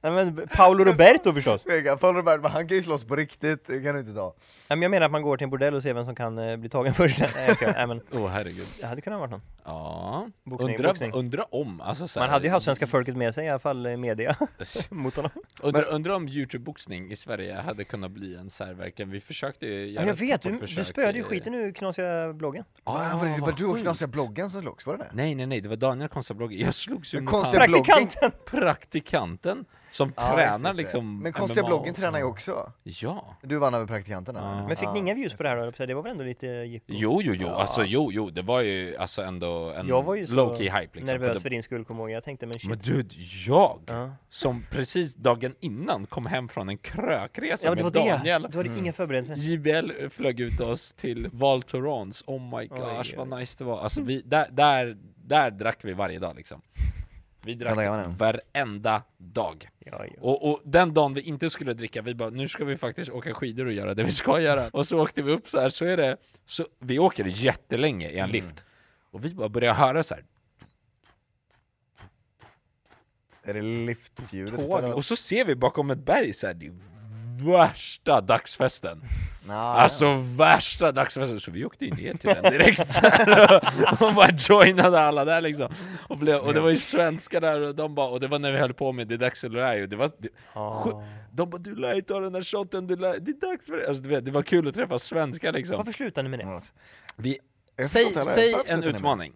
Speaker 3: Nej men Paolo Roberto förstås!
Speaker 2: Paul Robert, men han kan ju slåss på riktigt, det kan du inte ta.
Speaker 3: Nej men jag menar att man går till en bordell och ser vem som kan eh, bli tagen [laughs] först. Nej jag skojar. Nej men,
Speaker 1: Åh oh, herregud.
Speaker 3: det hade kunnat vara någon.
Speaker 1: Ja.
Speaker 3: Boxning,
Speaker 1: undra,
Speaker 3: boxning.
Speaker 1: undra om, alltså så här-
Speaker 3: Man hade ju haft svenska folket med sig i alla fall i media [laughs] mot honom.
Speaker 1: Undra, undra om YouTube-boxning i Sverige hade kunnat bli en så här verkligen, vi försökte ju
Speaker 3: Ja,
Speaker 1: göra
Speaker 3: jag
Speaker 1: ett
Speaker 3: vet, du,
Speaker 1: tappert
Speaker 3: du
Speaker 1: försök
Speaker 3: spöade ju
Speaker 1: i-
Speaker 3: skiten nu knasiga bloggen.
Speaker 1: Ah,
Speaker 2: Ah, var det, det var
Speaker 1: vad
Speaker 2: du och
Speaker 1: sjukt.
Speaker 2: knasiga bloggen som slogs, var det det?
Speaker 1: Nej nej nej, det var Daniel konstiga bloggen. Jag slogs ju
Speaker 2: Men
Speaker 1: mot
Speaker 2: konstiga
Speaker 1: han-
Speaker 3: Praktikanten!
Speaker 1: praktikanten som
Speaker 2: Ja, just det,
Speaker 1: tränar
Speaker 2: just det.
Speaker 1: liksom
Speaker 2: Men konstiga
Speaker 1: MMA.
Speaker 2: bloggen tränar ju också.
Speaker 1: Ja.
Speaker 2: Du vann över praktikanterna.
Speaker 3: Men fick ni
Speaker 2: Ja,
Speaker 3: inga views på det här
Speaker 2: precis.
Speaker 3: då? Det var väl ändå lite jippo?
Speaker 1: Jo jo jo, alltså jo jo, det var ju alltså ändå en
Speaker 3: Jag var ju så
Speaker 1: low-key hype liksom.
Speaker 3: nervös
Speaker 1: det...
Speaker 3: för din skull kommer jag ihåg. Jag tänkte men shit.
Speaker 1: Men du, jag
Speaker 3: Ja.
Speaker 1: som precis dagen innan kom hem från en krökresa
Speaker 3: ja men det var
Speaker 1: med
Speaker 3: det!
Speaker 1: Daniel.
Speaker 3: Du
Speaker 2: Mm.
Speaker 3: hade inga förberedelser.
Speaker 1: JBL flög ut oss till Val Thorens, oh my gosh
Speaker 3: Oj,
Speaker 1: vad nice det var. Alltså vi, där, där, där drack vi varje dag liksom. Vi drack
Speaker 2: Vänta, kan man det?
Speaker 1: varenda dag.
Speaker 3: Ja, ja.
Speaker 1: Och, och den dagen vi inte skulle dricka, vi bara nu ska vi faktiskt åka skidor och göra det vi ska göra. Och så åkte vi upp så här, så är det, så, vi åker jättelänge
Speaker 3: Mm.
Speaker 1: i en lift. Och vi bara börjar höra så här,
Speaker 2: Är det liftljudet?
Speaker 1: tåg. Och så ser vi bakom ett berg så här, det är värsta dagsfesten. Alltså värsta dagsfesten, så vi åkte ju ner till den direkt så här, [laughs] och- och bara joinade alla där liksom Och, blev, och det var ju svenskar där och de bara, och det var när vi höll på med det är dags eller ej och det var det, sju, De bara 'Du lär ju ta den där shoten, du lär, det är dags för det' alltså, du vet, det var kul att träffa svenskar liksom
Speaker 3: Varför slutar ni med det? Som
Speaker 1: vi,
Speaker 2: Jag förstår
Speaker 1: Säg,
Speaker 2: inte heller.
Speaker 1: säg
Speaker 2: Varför
Speaker 1: en
Speaker 2: slutar ni med
Speaker 1: utmaning,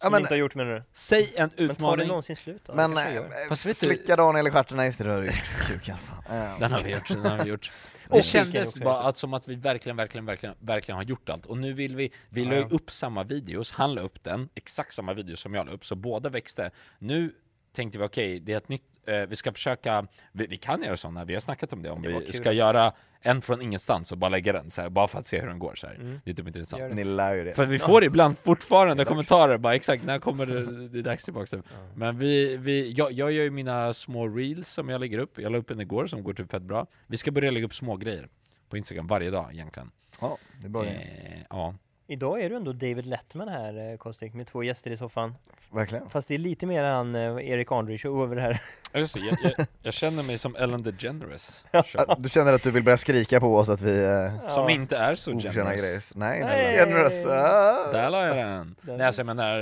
Speaker 2: Ja,
Speaker 3: ni
Speaker 2: men,
Speaker 3: inte har gjort med nu.
Speaker 1: säg en
Speaker 3: Men tar det
Speaker 1: utmaning
Speaker 3: någonsin slut då?
Speaker 2: men
Speaker 3: Det kanske
Speaker 2: eh,
Speaker 3: gör.
Speaker 1: Fast vet du-
Speaker 2: slicka Daniel i stjärten, nej just det, det har du gjort. Kuk i alla fall. Eh,
Speaker 1: Den har vi gjort, den har vi [laughs] gjort.
Speaker 3: Och
Speaker 1: Det
Speaker 3: Mikael
Speaker 1: kändes
Speaker 3: också
Speaker 1: bara
Speaker 3: gjort.
Speaker 1: att som att vi verkligen, verkligen, verkligen, verkligen har gjort allt. Och nu vill vi, vi la ju upp samma videos, han la upp den, exakt samma video som jag la upp, så båda växte. Nu tänkte vi okej, det är ett nytt, eh, vi ska försöka, vi, vi kan göra sådana, vi har snackat om det, om vi ska göra en från ingenstans och bara lägga den så här, bara för att se hur den går så
Speaker 2: eh.
Speaker 1: här.
Speaker 3: Mm.
Speaker 1: Det är typ inte intressant.
Speaker 2: Ni lär ju det.
Speaker 1: För vi får ibland fortfarande kommentarer bara exakt när kommer det, det är dags tillbaka typ. Men vi, vi jag, jag gör ju mina små reels som jag lägger upp, jag la upp en igår som går typ fett bra Vi ska börja lägga upp små grejer på instagram varje dag egentligen
Speaker 2: Ja, det är bra grejer.
Speaker 1: eh, Ja,
Speaker 3: Idag är du ändå David Lettman här eh, Kostik, med två gäster i soffan.
Speaker 1: Eh.
Speaker 2: Verkligen.
Speaker 3: Fast det är lite mer han eh, Erik André show över det här.
Speaker 1: Eller så, jag, jag, jag känner mig som Ellen DeGeneres
Speaker 2: Ah, Du känner att du vill börja skrika på oss att vi eh,
Speaker 1: Som inte är så
Speaker 2: oförtjänar
Speaker 1: generous
Speaker 2: grejer? Nej, inte
Speaker 3: Nej.
Speaker 2: generous. Ah.
Speaker 1: Där la jag den! Nej alltså jag menar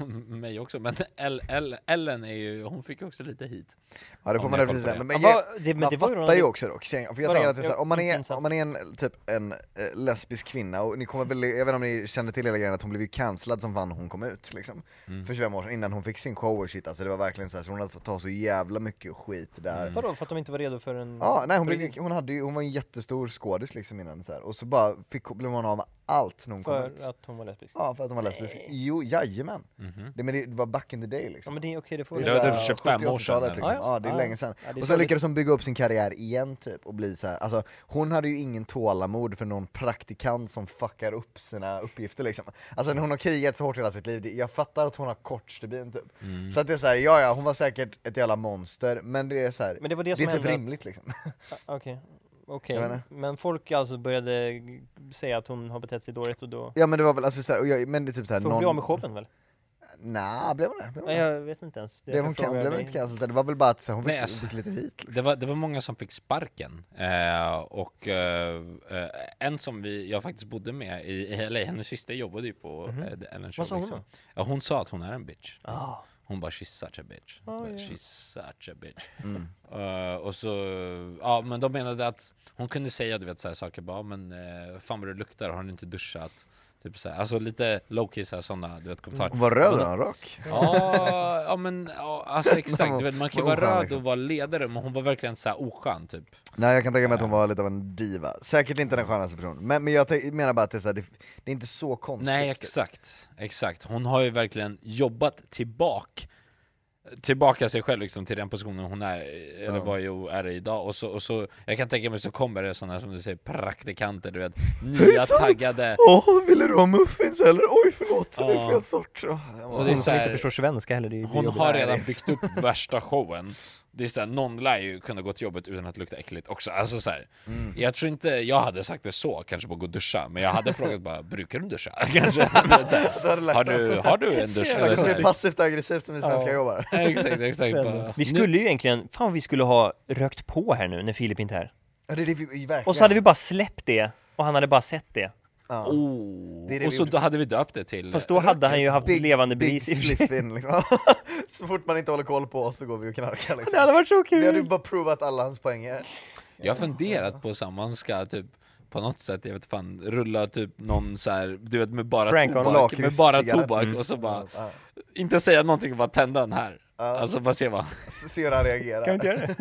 Speaker 1: eh, [laughs] mig också, men El, El, Ellen är ju, hon fick ju också lite hit
Speaker 2: Ja det får
Speaker 1: Om
Speaker 2: man
Speaker 1: jag
Speaker 2: definitivt
Speaker 1: kollar
Speaker 2: säga,
Speaker 1: på
Speaker 2: men,
Speaker 1: det.
Speaker 2: men, ge-
Speaker 3: Ja, vad- det- men
Speaker 2: man
Speaker 3: det var ju
Speaker 2: fattar
Speaker 3: någon-
Speaker 2: ju också dock, Tjej- för jag
Speaker 3: Vadå?
Speaker 2: tänker att det är så här, om man
Speaker 3: Jag-
Speaker 2: är,
Speaker 3: intressant.
Speaker 2: om man är en, typ en eh, lesbisk kvinna, och ni kommer väl, jag vet inte om ni känner till hela grejen att hon blev ju cancellad som fan när hon kom ut liksom För 25 år sedan, innan hon fick sin show och shit alltså, det var verkligen så, här, så hon hade fått ta så jävla mycket skit där
Speaker 3: Vadå? För att de inte var redo för en...
Speaker 2: Ja, nej hon, blev, ju- hon, hade ju, hon var en jättestor skådis liksom innan så här. och så bara fick, blev hon av med allt när hon kom ut
Speaker 3: För att hon var lesbisk?
Speaker 2: Ja, för att hon var lesbisk. Jo, jajamän. Det, men det var back in the day liksom
Speaker 3: Ja men det är okej, det får
Speaker 1: Det
Speaker 3: vi
Speaker 1: är
Speaker 3: väl-
Speaker 1: väl
Speaker 2: såhär
Speaker 1: typ 25 år
Speaker 2: 70-80-talet
Speaker 1: sedan, eller?
Speaker 2: Liksom.
Speaker 3: Ja, ja.
Speaker 2: Ja, det är
Speaker 3: Ja.
Speaker 2: länge sedan.
Speaker 3: Ja, det är
Speaker 2: och sen
Speaker 3: sorgligt.
Speaker 2: lyckades hon bygga upp sin karriär igen typ och bli så här. Alltså, hon hade ju ingen tålamod för någon praktikant som fuckar upp sina uppgifter liksom. Alltså när hon har krigat så hårt hela sitt liv, det- jag fattar att hon har kort stubin typ.
Speaker 1: Mm.
Speaker 2: Så att det är såhär, ja ja hon var säkert ett jävla monster, men det är såhär,
Speaker 3: Men det var det som
Speaker 2: är typ
Speaker 3: hände att-
Speaker 2: rimligt liksom. [laughs]
Speaker 3: Ah, Okej. Okej,
Speaker 2: Jag menar.
Speaker 3: men folk alltså började g- säga att hon har betett sig dåligt och då...
Speaker 2: ja men det var väl alltså såhär, och jag- men det är typ såhär,
Speaker 3: För hon blev av med showen väl?
Speaker 2: Nja, blev hon det? Blev hon,
Speaker 3: Nej
Speaker 2: det?
Speaker 3: jag vet inte ens. Det
Speaker 2: Blev
Speaker 3: jag
Speaker 2: hon, kan,
Speaker 3: frågar
Speaker 2: blev hon
Speaker 3: dig.
Speaker 2: inte cancelled? Det var väl bara att så här, hon fick,
Speaker 1: Nej, alltså.
Speaker 2: fick lite hit liksom.
Speaker 1: Det var, det var många som fick sparken. Eh, och eh, eh, en som vi, jag faktiskt bodde med i i LA, hennes syster jobbade ju på eh, The Ellen Show.
Speaker 3: Mhm. sa hon
Speaker 1: liksom. ja, hon sa att hon är en bitch.
Speaker 3: Ah.
Speaker 1: Hon bara 'she's such a bitch' Hon bara, She's such a bitch
Speaker 3: Mm.
Speaker 1: Eh, Och så, ja men de menade att hon kunde säga du vet såhär saker bara men eh, 'fan vad du luktar, har du inte duschat?' Typ såhär, alltså lite low-key såhär sådana du vet kommentarer
Speaker 2: Hon var röd när hon rock.
Speaker 1: Ja, ja men ja, alltså exakt, du vet, man kan ju
Speaker 2: Vad
Speaker 1: vara
Speaker 2: oskön,
Speaker 1: röd
Speaker 2: liksom.
Speaker 1: och vara ledare men hon var verkligen så här oskön typ
Speaker 2: Nej jag kan tänka mig
Speaker 1: Eh.
Speaker 2: att hon var lite av en diva, säkert inte den skönaste personen, men, men jag te- menar bara att det är, så här, det, det är inte så konstigt [laughs]
Speaker 1: Nej exakt, exakt. Hon har ju verkligen jobbat tillbaka tillbaka sig själv liksom till den positionen hon är, eller
Speaker 2: Ja.
Speaker 1: var ju och är idag och så, och så, jag kan tänka mig så kommer det sådana som du säger, praktikanter du vet, nya
Speaker 2: Hejsan!
Speaker 1: taggade
Speaker 2: Åh, ville du ha muffins eller? Oj förlåt, det
Speaker 1: Ja.
Speaker 2: är fel sort. Ja, jag var-
Speaker 1: Och det är
Speaker 3: Hon
Speaker 1: så
Speaker 3: som
Speaker 1: här-
Speaker 3: inte förstår svenska heller, det är ju
Speaker 1: Hon
Speaker 3: jobbigt.
Speaker 1: har
Speaker 2: Nej,
Speaker 1: redan
Speaker 2: det-
Speaker 1: byggt upp
Speaker 3: [laughs]
Speaker 1: värsta showen Det är såhär, någon lär ju kunna gå till jobbet utan att lukta äckligt också, alltså såhär
Speaker 3: Mm.
Speaker 1: Jag tror inte jag hade sagt det så, kanske på gå och duscha, men jag
Speaker 3: [laughs]
Speaker 1: hade frågat bara 'Brukar du duscha?' [laughs] kanske så
Speaker 2: hade
Speaker 1: här,
Speaker 2: lagt
Speaker 1: har, du, har du en
Speaker 3: [laughs]
Speaker 1: dusch? Eller
Speaker 2: Det
Speaker 1: så [laughs]
Speaker 2: är
Speaker 1: här.
Speaker 2: passivt aggressivt som vi svenskar jobbar.
Speaker 1: Exakt, exakt bara,
Speaker 3: Vi skulle ju egentligen, fan vad vi skulle ha rökt på här nu när Filip inte är här.
Speaker 2: Ja, det är det vi, verkligen.
Speaker 3: Och så hade vi bara släppt det, och han hade bara sett det.
Speaker 2: Ja. Det
Speaker 1: nu,
Speaker 2: är det
Speaker 1: Oh. Och
Speaker 2: vi
Speaker 1: så
Speaker 2: gjorde.
Speaker 1: då hade vi döpt det till
Speaker 3: Fast då hade han ju haft
Speaker 2: Big-
Speaker 3: levande
Speaker 2: Big
Speaker 3: bevis i och för sig.
Speaker 2: spliffin liksom. [laughs] så fort man inte håller koll på oss så går vi och knarkar liksom.
Speaker 3: [laughs] Det hade varit så
Speaker 2: Vi hade ju
Speaker 3: kul!
Speaker 2: bara provat alla hans poänger.
Speaker 1: Jag har funderat på om man ska typ på något sätt, jag vet fan, rulla typ någon så här, du vet med bara
Speaker 3: Prank on
Speaker 1: tobak, med bara
Speaker 2: lakritscigaretter.
Speaker 1: tobak och
Speaker 3: Mm.
Speaker 1: så bara, inte säga någonting, bara tända den här. Alltså bara se vad,
Speaker 2: Så ser hur han reagerar.
Speaker 3: Kan vi inte göra det?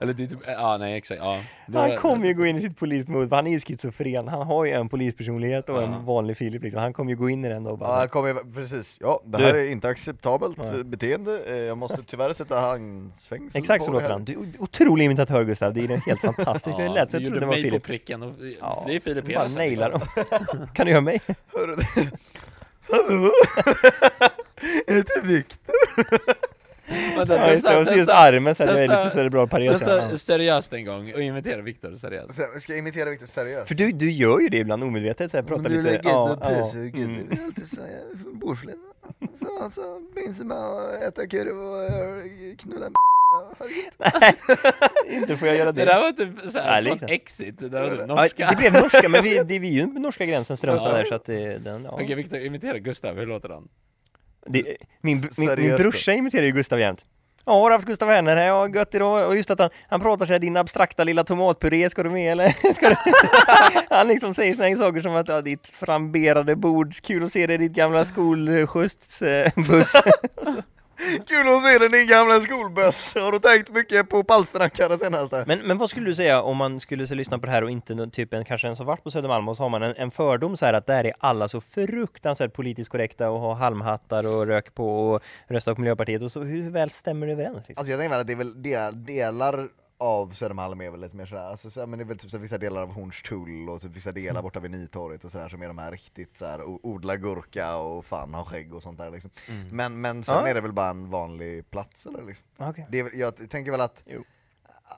Speaker 1: eller det är typ, ja nej exakt, ja. [laughs] Det
Speaker 3: Han
Speaker 1: var-
Speaker 3: kommer ju gå in i sitt polismode, för han är ju schizofren. Han har ju en polispersonlighet och
Speaker 1: Ja.
Speaker 3: en vanlig Filip liksom. Han kommer ju gå in i den då och
Speaker 2: Ja,
Speaker 3: bara
Speaker 2: han kommer ju- precis. Ja, det här är inte acceptabelt eh, beteende. Eh, Jag måste tyvärr sätta handfängsel
Speaker 3: Exakt så
Speaker 2: på det
Speaker 3: låter
Speaker 2: här.
Speaker 3: han. Du är otrolig imitatör Gustav, det är en helt fantastisk. Det lät så
Speaker 1: du
Speaker 3: jag trodde
Speaker 1: gjorde
Speaker 3: det var
Speaker 1: mig
Speaker 3: Filip.
Speaker 1: på pricken och
Speaker 3: Ja,
Speaker 1: det är Filip
Speaker 3: du bara
Speaker 1: Petersen,
Speaker 3: nailar
Speaker 1: liksom.
Speaker 3: dem. Kan du göra mig?
Speaker 2: Hörru, Hallå? Är det Viktor?
Speaker 1: Vänta,
Speaker 3: Ja just det, och så just armen så här, det är lite så här bra paret.
Speaker 1: testa
Speaker 3: Ja.
Speaker 1: seriöst en gång och imitera Viktor seriöst.
Speaker 2: [laughs] Så här, Ska jag imitera Viktor seriöst?
Speaker 3: För du, du gör ju det ibland omedvetet, så här, pratar
Speaker 2: du
Speaker 3: lite.
Speaker 2: lägger
Speaker 3: Ja,
Speaker 2: inte
Speaker 3: ja.
Speaker 2: pösugen,
Speaker 3: Mm.
Speaker 2: du är alltid så här från Borslän. Så, så minns man och äta kurv och eh, knulla
Speaker 3: [laughs]
Speaker 2: m***.
Speaker 3: Inte får jag göra
Speaker 1: Det
Speaker 3: det.
Speaker 1: där var typ såhär,
Speaker 3: Ja, lite.
Speaker 1: från Exit, det där var typ
Speaker 3: Ja,
Speaker 1: norska.
Speaker 3: det blev norska, men vi, det är vi ju norska gränsen Strömstad
Speaker 1: Ja.
Speaker 3: där så att det, den, ja.
Speaker 1: [laughs] Okej Viktor, imitera Gustav, hur låter han?
Speaker 3: det, min, min, min
Speaker 2: Seriöst då?
Speaker 3: brorsa imiterar ju Gustav jämt. Ja, har du haft Gustav Werner här? Ja, gött idag. Och just att han, han pratar såhär, din abstrakta lilla tomatpuré, ska du med eller? [laughs] Ska du? [laughs] Han liksom säger såna här saker som att, ja, ditt framberade bord, kul att se dig i ditt gamla skolskjuts, eh,
Speaker 2: [laughs]
Speaker 3: buss.
Speaker 2: Kul att se dig din gamla skolböss. Har du tänkt mycket på palsternackare senaste?
Speaker 3: Men, men vad skulle du säga om man skulle så lyssna på det här och inte nå- typ en, kanske en som varit på Södermalm och så har man en, en fördom så här att där är alla så fruktansvärt politiskt korrekta och har halmhattar och röker på och röstar på Miljöpartiet och så hur väl stämmer det överens? Liksom?
Speaker 2: Alltså jag tänker väl att det är väl de- delar av Södermalm är väl lite mer sådär, alltså, såhär, men det är väl typ såhär, vissa delar av Hornstull och typ vissa
Speaker 3: Mm.
Speaker 2: delar borta vid Nytorget och sådär som är de här riktigt såhär o- odla gurka och fan ha skägg och sånt där liksom. Men, men sen
Speaker 3: Mm. Ja.
Speaker 2: är det väl bara en vanlig plats eller liksom.
Speaker 3: Ah, Okej.
Speaker 2: Det är, väl- jag t- tänker väl att
Speaker 3: Jo.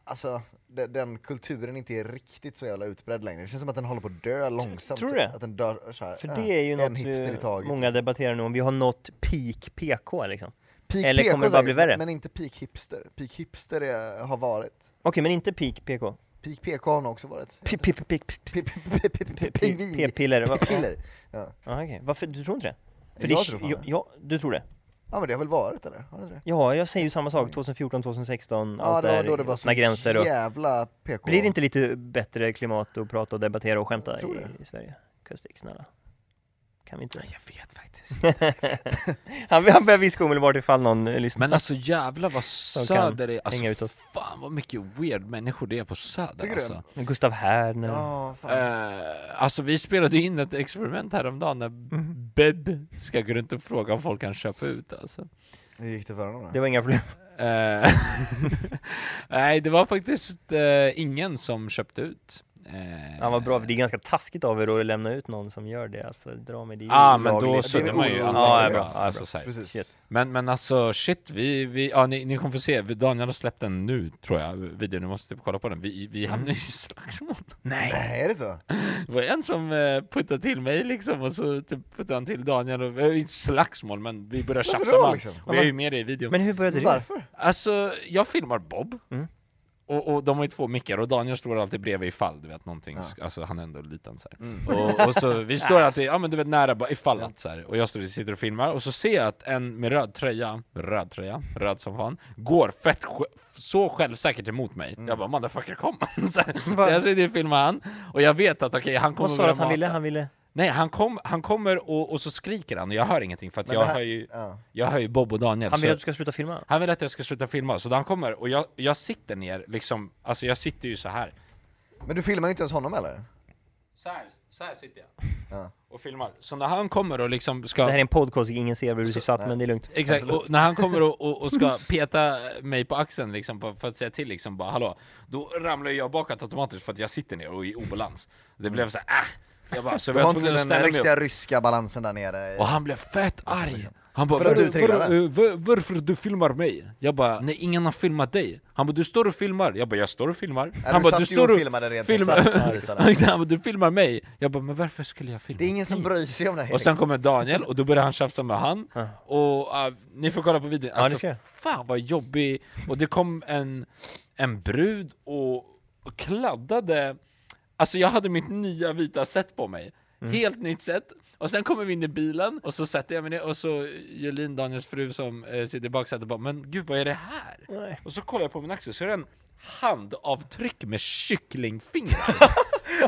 Speaker 2: Alltså, de- den kulturen inte är riktigt så jävla utbredd längre. Det känns som att den håller på att dö långsamt.
Speaker 3: tror du
Speaker 2: typ.
Speaker 3: det?
Speaker 2: Att den dör såhär,
Speaker 3: För
Speaker 2: äh,
Speaker 3: det är ju
Speaker 2: en
Speaker 3: något
Speaker 2: hipster i
Speaker 3: eh,
Speaker 2: taget. liksom.
Speaker 3: många debatterar nu om, vi har nått peak PK liksom.
Speaker 2: Peak
Speaker 3: eller
Speaker 2: PK
Speaker 3: kommer det bara bli
Speaker 2: säkert,
Speaker 3: värre?
Speaker 2: Men inte peak hipster. Peak hipster är, har varit.
Speaker 3: Okej, men inte peak PK?
Speaker 2: Peak PK har nog också varit.
Speaker 3: Pi- pi- pi- pi- pi-
Speaker 2: P- p- p- p- p-
Speaker 3: pi-
Speaker 2: Pingvin.
Speaker 3: P-piller? va?
Speaker 2: P-piller. Ja.
Speaker 3: Ja, Ah, okej. Varför? Du tror inte det?
Speaker 2: Jag
Speaker 3: det,
Speaker 2: tror fan
Speaker 3: ja,
Speaker 2: det.
Speaker 3: ja, du tror det?
Speaker 2: ja men det har väl varit eller? Har det inte det?
Speaker 3: Ja, jag säger ju samma sak 2014, 2016,
Speaker 2: Ja
Speaker 3: allt
Speaker 2: det
Speaker 3: där,
Speaker 2: var då det var
Speaker 3: öppna
Speaker 2: så
Speaker 3: gränser och
Speaker 2: jävla PK.
Speaker 3: Blir det inte lite bättre klimat att prata och debattera och skämta
Speaker 2: Jag tror
Speaker 3: i,
Speaker 2: det.
Speaker 3: i Sverige? Kustik, snälla. Kan vi inte?
Speaker 1: Jag vet faktiskt
Speaker 3: [laughs] han, han börjar viska omedelbart ifall någon eh, lyssnar.
Speaker 1: Men alltså jävlar vad
Speaker 3: kan
Speaker 1: söder är, alltså
Speaker 3: hänga ut oss.
Speaker 1: fan vad mycket weird människor det är på söder
Speaker 2: Tycker du?
Speaker 1: alltså.
Speaker 3: Gustav Härner.
Speaker 2: Ja, fan.
Speaker 1: Eh, alltså vi spelade in ett experiment häromdagen när
Speaker 3: Mhm.
Speaker 1: Beb ska gå runt och fråga om folk kan köpa ut alltså.
Speaker 2: Hur gick det för honom
Speaker 3: Det
Speaker 2: då?
Speaker 3: var inga problem.
Speaker 1: Eh, [laughs] nej det var faktiskt eh, ingen som köpte ut. Eh,
Speaker 3: Han var bra, för det är ganska taskigt av er att lämna ut någon som gör det. Alltså, dra med det.
Speaker 1: Ja ah, men då
Speaker 3: olagligt.
Speaker 2: så-
Speaker 1: suddade man ju
Speaker 2: olagligt.
Speaker 1: ansiktet.
Speaker 3: Ja, ja, bra. Ja,
Speaker 1: alltså,
Speaker 3: bra.
Speaker 1: så här.
Speaker 2: Precis.
Speaker 1: Men, men alltså shit, vi, vi ja, ni, ni kommer få se, Vi- Daniel har släppt den nu tror jag, videon, ni måste typ kolla på den. Vi,
Speaker 3: Mm.
Speaker 1: vi hamnade ju i slagsmål.
Speaker 2: Nej, är det så?
Speaker 1: Det var en som eh, puttade till mig liksom och så typ puttade han till Daniel och, eh, inte slagsmål men vi började
Speaker 2: Varför
Speaker 1: tjafsa
Speaker 2: då,
Speaker 1: med han.
Speaker 2: liksom?
Speaker 1: Och jag är ju med i videon.
Speaker 3: Men hur började det?
Speaker 2: Varför?
Speaker 1: Alltså, jag filmar Bob.
Speaker 3: Mm.
Speaker 1: Och, och de har ju två mickar och Daniel står alltid bredvid ifall du vet någonting, sk- alltså han är ändå liten så här.
Speaker 3: Mm.
Speaker 1: Och, och så vi
Speaker 3: [laughs]
Speaker 1: står alltid, ja men du vet nära bara ifall att så här. och jag står och sitter och filmar och så ser jag att en med röd tröja, röd tröja, röd som fan, går fett sj- så självsäkert emot mig.
Speaker 3: Mm.
Speaker 1: Jag bara 'motherfucker kom' [laughs] så,
Speaker 3: [laughs]
Speaker 1: här. så jag sitter och filmar han, och jag vet att okej han kommer
Speaker 3: Vad sa du
Speaker 1: börja
Speaker 3: att han ville?
Speaker 1: masa.
Speaker 3: Han ville?
Speaker 1: Nej, han, kom, han kommer och, och så skriker han och jag hör ingenting för att
Speaker 2: Men
Speaker 1: jag,
Speaker 2: det här-
Speaker 1: hör ju,
Speaker 2: ja.
Speaker 1: jag hör ju Bob och Daniel
Speaker 3: Han
Speaker 1: så-
Speaker 3: ville att du ska sluta filma?
Speaker 1: han vill att jag ska sluta filma, så då han kommer och jag, jag sitter ner liksom, alltså jag sitter ju så här.
Speaker 2: Men du filmar ju inte ens honom eller?
Speaker 1: Så här, så här sitter jag
Speaker 2: Ja.
Speaker 1: och filmar. Så när han kommer och liksom ska...
Speaker 3: Det här är en podcast, ingen ser var du satt, men det är lugnt.
Speaker 1: Exakt, och när han kommer och, och, och ska peta mig på axeln liksom, på- för att säga till liksom bara hallå, då ramlar jag bakåt automatiskt för att jag sitter ner och är i obalans. Det blev så här, ah! Jag bara, så
Speaker 2: Du
Speaker 1: jag
Speaker 2: har
Speaker 1: var
Speaker 2: inte
Speaker 1: tvungen att
Speaker 2: den
Speaker 1: ställa mig
Speaker 2: riktiga
Speaker 1: upp.
Speaker 2: ryska balansen där nere.
Speaker 1: Och han blev fett arg! Han bara,
Speaker 2: För att du
Speaker 1: "Var-
Speaker 2: trillade."
Speaker 1: var- eh, var- varför du filmar mig? Jag bara, nej ingen har filmat dig. Han bara, du står och filmar. Jag bara, jag står och filmar. Han
Speaker 2: du
Speaker 1: bara,
Speaker 2: satt
Speaker 1: du
Speaker 2: ju
Speaker 1: står
Speaker 2: och
Speaker 1: och
Speaker 2: filmade rent
Speaker 1: filmar.
Speaker 2: exakt. liksom.
Speaker 1: [laughs] Exakt, Han bara, du filmar mig. Jag bara, men varför skulle jag filma
Speaker 2: Det är ingen som
Speaker 1: dig?"
Speaker 2: bryr sig om det här.
Speaker 1: Och sen kommer Daniel och då börjar han tjafsa med han Och ah, ni får kolla på videon,
Speaker 3: Ja, det
Speaker 1: alltså
Speaker 3: ska jag.
Speaker 1: fan vad jobbig Och det kom en, en brud och, och kladdade Alltså jag hade mitt nya vita set på mig
Speaker 2: Mm.
Speaker 1: Helt nytt set och sen kommer vi in i bilen och så sätter jag mig ner och så Jolin, Daniels fru som eh, sitter i baksätet bara Men gud vad är det här? Och så kollar jag på min axel så är det en handavtryck med kycklingfingrar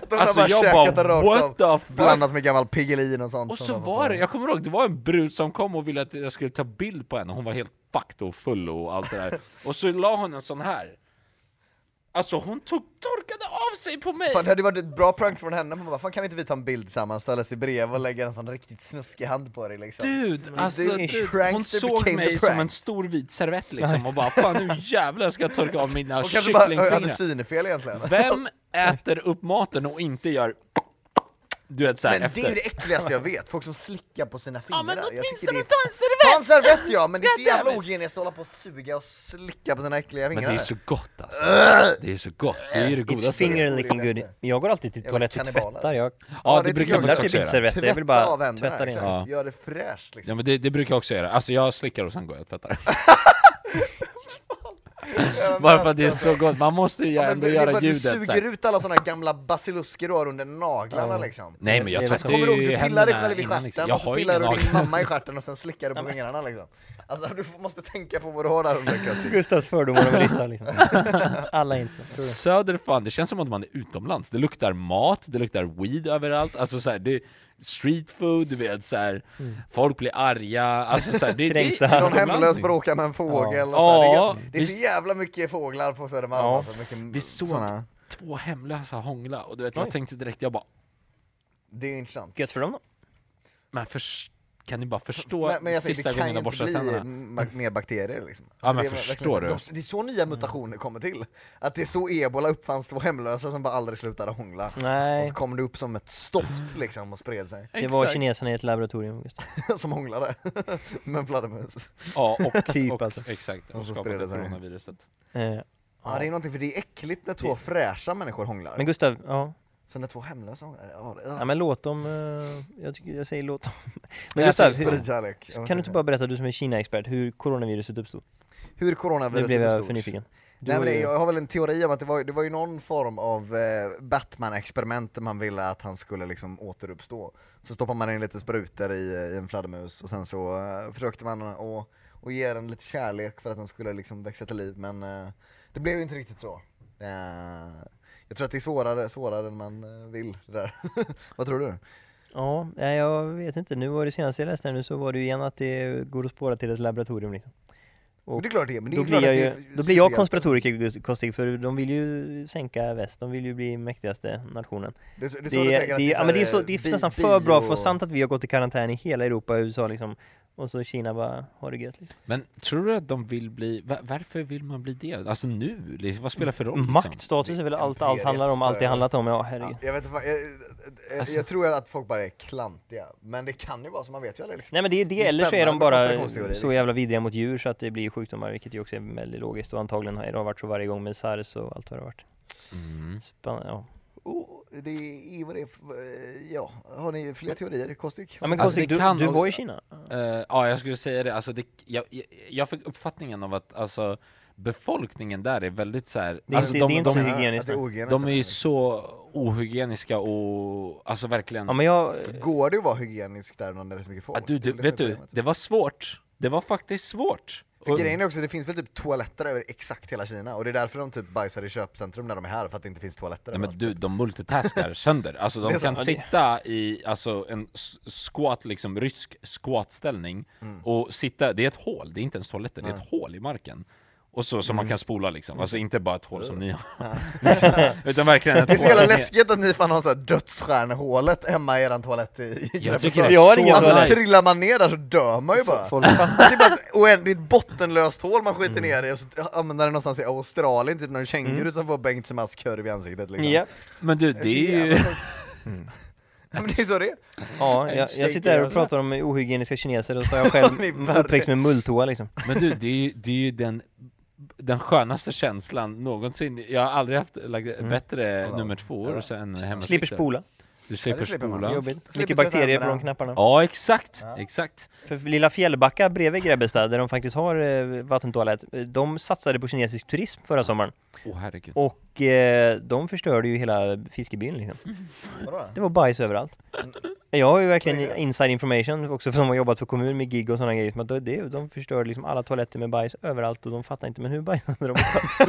Speaker 2: [laughs] De
Speaker 1: alltså,
Speaker 2: har bara
Speaker 1: jag
Speaker 2: käkat
Speaker 1: bara,
Speaker 2: det rakt
Speaker 1: what
Speaker 2: av,
Speaker 1: the fuck?
Speaker 2: blandat med gammal Piggelin och sånt.
Speaker 1: Och
Speaker 2: som
Speaker 1: så
Speaker 2: de har
Speaker 1: var
Speaker 2: fått
Speaker 1: det,
Speaker 2: med.
Speaker 1: jag kommer ihåg, det var en brud som kom och ville att jag skulle ta bild på henne, hon var helt fucked och full och allt det
Speaker 2: [laughs]
Speaker 1: där Och så la hon en sån här Alltså hon tog, torkade av sig på mig!
Speaker 2: Fan, det hade ju varit ett bra prank från henne, man bara, fan kan inte vi ta en bild tillsammans, ställa sig bredvid och lägga en sån riktigt snuskig hand på dig liksom?
Speaker 1: Dude, alltså
Speaker 2: det är
Speaker 1: dude,
Speaker 2: pranks,
Speaker 1: hon
Speaker 2: det
Speaker 1: såg
Speaker 2: became the
Speaker 1: mig som en
Speaker 2: pranks.
Speaker 1: stor vit servett liksom och bara fan nu
Speaker 2: [laughs]
Speaker 1: jävlar ska jag torka av mina
Speaker 2: Hon kanske bara ö, hade
Speaker 1: kycklingfingrar
Speaker 2: synefel egentligen.
Speaker 1: Vem äter upp maten och inte gör du vet såhär
Speaker 2: Men
Speaker 1: efter?
Speaker 2: det är ju det äckligaste jag vet, folk som slickar på sina fingrar.
Speaker 1: men
Speaker 2: Jag tycker
Speaker 1: åtminstone
Speaker 2: det är-
Speaker 1: ta en servett!
Speaker 2: Ta en servett ja, men det är så
Speaker 1: [laughs] God damn
Speaker 2: jävla
Speaker 1: it.
Speaker 2: ogeniskt att hålla på och suga och slicka på sina äckliga fingrar.
Speaker 1: Men det är så gott alltså, det är så gott, det är ju det
Speaker 3: It's
Speaker 1: godaste
Speaker 3: finger licking good. Men jag går alltid till
Speaker 2: Jävla
Speaker 3: toaletten och
Speaker 2: kannibaler.
Speaker 3: tvättar. Jag
Speaker 1: Ja
Speaker 2: Ja,
Speaker 1: det
Speaker 2: det
Speaker 1: brukar jag
Speaker 2: tycker jag
Speaker 1: faktiskt också
Speaker 3: typ
Speaker 1: göra
Speaker 3: servetter, jag vill
Speaker 2: Tvätta
Speaker 3: bara
Speaker 2: av händerna,
Speaker 3: tvätta rent.
Speaker 2: exakt.
Speaker 1: Ja.
Speaker 2: Gör det fräscht liksom.
Speaker 1: Ja men det, det brukar jag också göra, alltså jag slickar och sen går jag och
Speaker 2: [laughs]
Speaker 1: tvättar Bara för att det är så gott, man måste ju
Speaker 2: alltså. Ja, men
Speaker 1: ändå
Speaker 2: det- det är bara
Speaker 1: göra
Speaker 2: att
Speaker 1: ljudet
Speaker 2: Du
Speaker 1: så
Speaker 2: suger
Speaker 1: här.
Speaker 2: ut alla sådana gamla basilusker du har under naglarna liksom.
Speaker 1: Nej men jag
Speaker 3: Det är väl så.
Speaker 1: tvättar
Speaker 2: Kommer du ihåg,
Speaker 1: ju
Speaker 2: du pillade
Speaker 1: händerna
Speaker 2: själv i
Speaker 1: innan
Speaker 2: stjärten
Speaker 1: liksom. Jag
Speaker 2: och så
Speaker 1: har ju
Speaker 2: pillade
Speaker 1: ingen
Speaker 2: du din
Speaker 1: aning
Speaker 2: mamma i stjärten och sen slickade du på fingrarna liksom. Alltså du måste tänka på vad du har där under kusin.
Speaker 3: Gustavs fördomar om
Speaker 2: [laughs]
Speaker 3: ryssar liksom. Alla är inte så.
Speaker 1: Söder fan, det känns som att man är utomlands Det luktar mat, det luktar weed överallt Alltså så här, det är street food, du vet så här.
Speaker 2: Mm.
Speaker 1: Folk blir arga, alltså så här, det, det
Speaker 3: Kränkta.
Speaker 1: är
Speaker 2: Någon hemlös
Speaker 1: utomlands.
Speaker 2: bråkar med en fågel och så
Speaker 1: Ja.
Speaker 2: här, det, är gött. det är så
Speaker 1: Visst.
Speaker 2: jävla mycket fåglar på Södermalm
Speaker 3: Ja.
Speaker 2: alltså, mycket
Speaker 1: Vi såg
Speaker 2: såna.
Speaker 1: två hemlösa hångla och du vet jag tänkte direkt, jag bara
Speaker 2: Det är ju intressant.
Speaker 3: Gött för dem då.
Speaker 1: Men förs- kan ni bara förstå
Speaker 2: Men, men jag tänker,
Speaker 1: sista
Speaker 2: det
Speaker 1: gången
Speaker 2: kan ju
Speaker 1: jag
Speaker 2: inte
Speaker 1: borstar
Speaker 2: bli
Speaker 1: tänderna?
Speaker 2: ma- mer bakterier liksom.
Speaker 1: Ja, men
Speaker 2: det är verkligen
Speaker 1: förstår
Speaker 2: så-
Speaker 1: du?
Speaker 2: de- Det är så nya mutationer kommer till. Att det är så ebola uppfanns, två hemlösa som bara aldrig slutade hångla. Och
Speaker 3: Nej.
Speaker 2: så kom det upp som ett stoft liksom och spred sig. [laughs]
Speaker 3: Det var
Speaker 1: Exakt.
Speaker 3: kineserna i ett laboratorium. Just.
Speaker 2: som hånglade. [laughs] Med en fladdermus.
Speaker 1: Ja,
Speaker 3: [laughs]
Speaker 1: och,
Speaker 3: Typ
Speaker 1: och,
Speaker 3: alltså.
Speaker 1: Exakt,
Speaker 2: Och
Speaker 1: och
Speaker 2: så
Speaker 1: skapade
Speaker 2: spred det sig.
Speaker 1: coronaviruset.
Speaker 3: Eh,
Speaker 2: Ja det är någonting, för det är äckligt när två fräscha människor hånglar.
Speaker 3: Men Gustav, ja.
Speaker 2: Så när två hemlösa hånglar, ja det
Speaker 3: ja men låt dem, eh, jag, tycker, jag säger låt dem. [laughs] Men
Speaker 1: Jag
Speaker 3: Gustav,
Speaker 1: säger
Speaker 3: hur,
Speaker 2: Sprid kärlek. Jag
Speaker 3: kan
Speaker 2: måste
Speaker 3: du inte
Speaker 2: säga.
Speaker 3: bara berätta, du som är Kina-expert, hur coronaviruset uppstod?
Speaker 2: Hur
Speaker 3: Nu
Speaker 2: coronaviruset
Speaker 3: blev jag
Speaker 2: uppstod?
Speaker 3: för nyfiken. Du
Speaker 2: Nej
Speaker 3: var
Speaker 2: men det,
Speaker 3: ju-
Speaker 2: jag har väl en teori om att det var, det var ju någon form av eh, Batman-experiment där man ville att han skulle liksom återuppstå. Så stoppar man in lite sprutor i, eh, i en fladdermus och sen så eh, försökte man att att ge den lite kärlek för att den skulle liksom växa till liv men eh, det blev ju inte riktigt så. Eh, jag tror att det är svårare, svårare än man eh, vill det där. [laughs] Vad tror du?
Speaker 3: Ja, nej, jag vet inte. Nu var det senaste jag läste här nu så var det ju igen att det går att spåra till ett laboratorium liksom.
Speaker 2: Men det är klart det är, men det är
Speaker 3: Då
Speaker 2: klart
Speaker 3: blir
Speaker 2: att
Speaker 3: jag,
Speaker 2: det är
Speaker 3: ju, då blir jag
Speaker 2: superhjälte.
Speaker 3: konspiratoriker Kostig, för de vill ju sänka väst, de vill ju bli mäktigaste nationen.
Speaker 2: Det är, så- det är, så du
Speaker 3: Det är,
Speaker 2: tänker att
Speaker 3: det är, ja,
Speaker 2: så
Speaker 3: men
Speaker 2: här,
Speaker 3: det är, så, det är
Speaker 2: bi-
Speaker 3: nästan för
Speaker 2: bi
Speaker 3: bra för att vara
Speaker 2: och-
Speaker 3: sant att vi har gått i karantän i hela Europa och USA liksom. Och så Kina bara, har det gött liksom.
Speaker 1: Men tror du att de vill bli, va- varför vill man bli det? Alltså nu, liksom, vad spelar det för roll? Liksom?
Speaker 3: Makt, status är väl allt allt handlar om, allt det handlat om, ja herregud.
Speaker 2: Ja,
Speaker 3: Alltså.
Speaker 2: jag, vet, inte fan, jag, jag, jag tror att folk bara är klantiga, men det kan ju vara så, man vet ju aldrig liksom.
Speaker 3: Nej men det är
Speaker 2: Det
Speaker 3: det,
Speaker 2: är
Speaker 3: eller så är
Speaker 2: spännande
Speaker 3: de
Speaker 2: med
Speaker 3: bara
Speaker 2: konspirationsteorier, liksom.
Speaker 3: så jävla vidriga mot djur så att det blir sjukdomar, vilket ju också är väldigt logiskt och antagligen har det har varit så varje gång med sars och allt vad det har varit.
Speaker 1: Mm.
Speaker 3: Spännande, ja.
Speaker 2: Oh, det är vad det är, f- eh, ja, har ni fler teorier? Kostik?
Speaker 3: ja men
Speaker 1: Alltså,
Speaker 3: Kostig,
Speaker 1: det kan
Speaker 3: du, du
Speaker 1: och-
Speaker 3: var i Kina?
Speaker 1: Eh, ja, jag skulle säga det, alltså det, jag, jag, jag fick uppfattningen av att alltså, befolkningen där är väldigt så här,
Speaker 3: Det är
Speaker 1: alltså,
Speaker 3: inte- det är inte så hygieniskt.
Speaker 2: att det är ogeniskt.
Speaker 1: de är ju så ohygieniska och, alltså verkligen
Speaker 3: Ja men jag,
Speaker 2: Går det att vara hygienisk där när det är så mycket folk?
Speaker 1: Ah, du,
Speaker 2: Det är
Speaker 1: du,
Speaker 2: väl det som
Speaker 1: vet
Speaker 2: är
Speaker 1: du,
Speaker 2: problemet.
Speaker 1: det var svårt. Det var faktiskt svårt.
Speaker 2: För
Speaker 1: Och-
Speaker 2: grejen är också, det finns väl typ toaletter över exakt hela Kina, och det är därför de typ bajsar i köpcentrum när de är här, för att det inte finns toaletter
Speaker 1: Nej, men
Speaker 2: överallt.
Speaker 1: du, de multitaskar sönder. Alltså
Speaker 2: Det är
Speaker 1: de
Speaker 2: så.
Speaker 1: kan
Speaker 2: Ja, det-
Speaker 1: sitta i alltså, en s- squat, liksom
Speaker 2: Mm.
Speaker 1: rysk squatställning och sitta, det är ett hål, det är inte ens toaletten, det är ett hål i marken. Och så
Speaker 2: Mm.
Speaker 1: som man kan spola liksom, alltså inte bara ett hål som ni har [laughs] Utan verkligen ett
Speaker 2: Det är så
Speaker 1: hål
Speaker 2: jävla
Speaker 1: ner.
Speaker 2: läskigt att ni fan har såhär dödsstjärnehålet hemma i eran toalett i, i
Speaker 1: Jag
Speaker 2: Grebbestad.
Speaker 1: tycker det
Speaker 3: Vi har
Speaker 1: är
Speaker 3: ingen
Speaker 1: så
Speaker 2: Alltså
Speaker 3: toalett.
Speaker 1: nice.
Speaker 2: trillar man ner där så dör man ju bara.
Speaker 3: Folk Mm. fattar
Speaker 2: Det är bara ett oändligt bottenlöst hål man skiter ner i och så hamnar det någonstans i Australien, typ någon känguru
Speaker 3: Mm.
Speaker 2: som får Bengt Semas kurv i ansiktet liksom.
Speaker 3: Japp.
Speaker 1: Men du,
Speaker 2: Det är så
Speaker 1: det är ju...
Speaker 2: jävla sjukt.
Speaker 1: Mm.
Speaker 2: Ja, men det är så
Speaker 3: [laughs]
Speaker 2: det är. [laughs]
Speaker 3: Ja, jag, jag sitter här och pratar om ohygieniska kineser och så har jag
Speaker 2: [laughs]
Speaker 3: själv
Speaker 2: Ni är
Speaker 3: uppväxt med mulltoa liksom.
Speaker 1: Men du, det är ju, det är ju den, den skönaste känslan någonsin. Jag har aldrig haft like,
Speaker 2: Mm.
Speaker 1: bättre nummer två år sedan hemma.
Speaker 3: Slipper spola.
Speaker 1: Du slipper
Speaker 2: det slipper man.
Speaker 1: spola.
Speaker 3: Jobbigt.
Speaker 2: Slipper
Speaker 3: Mycket
Speaker 2: tvätta
Speaker 3: bakterier på de
Speaker 2: händerna.
Speaker 3: knapparna.
Speaker 1: Ja, exakt. Exakt.
Speaker 3: För lilla Fjällbacka bredvid Grebbestad, där de faktiskt har eh, vattentoalett, eh, de satsade på kinesisk turism förra sommaren.
Speaker 1: Åh herregud.
Speaker 3: Och eh, de förstörde ju hela fiskebyn liksom.
Speaker 1: Mm.
Speaker 2: Vadå?
Speaker 3: Det var bajs överallt. Jag har ju verkligen inside information också som har jobbat för kommun med gig och sådana grejer. som att det, de förstörde liksom alla toaletter med bajs överallt och de fattar inte, men hur bajsade de?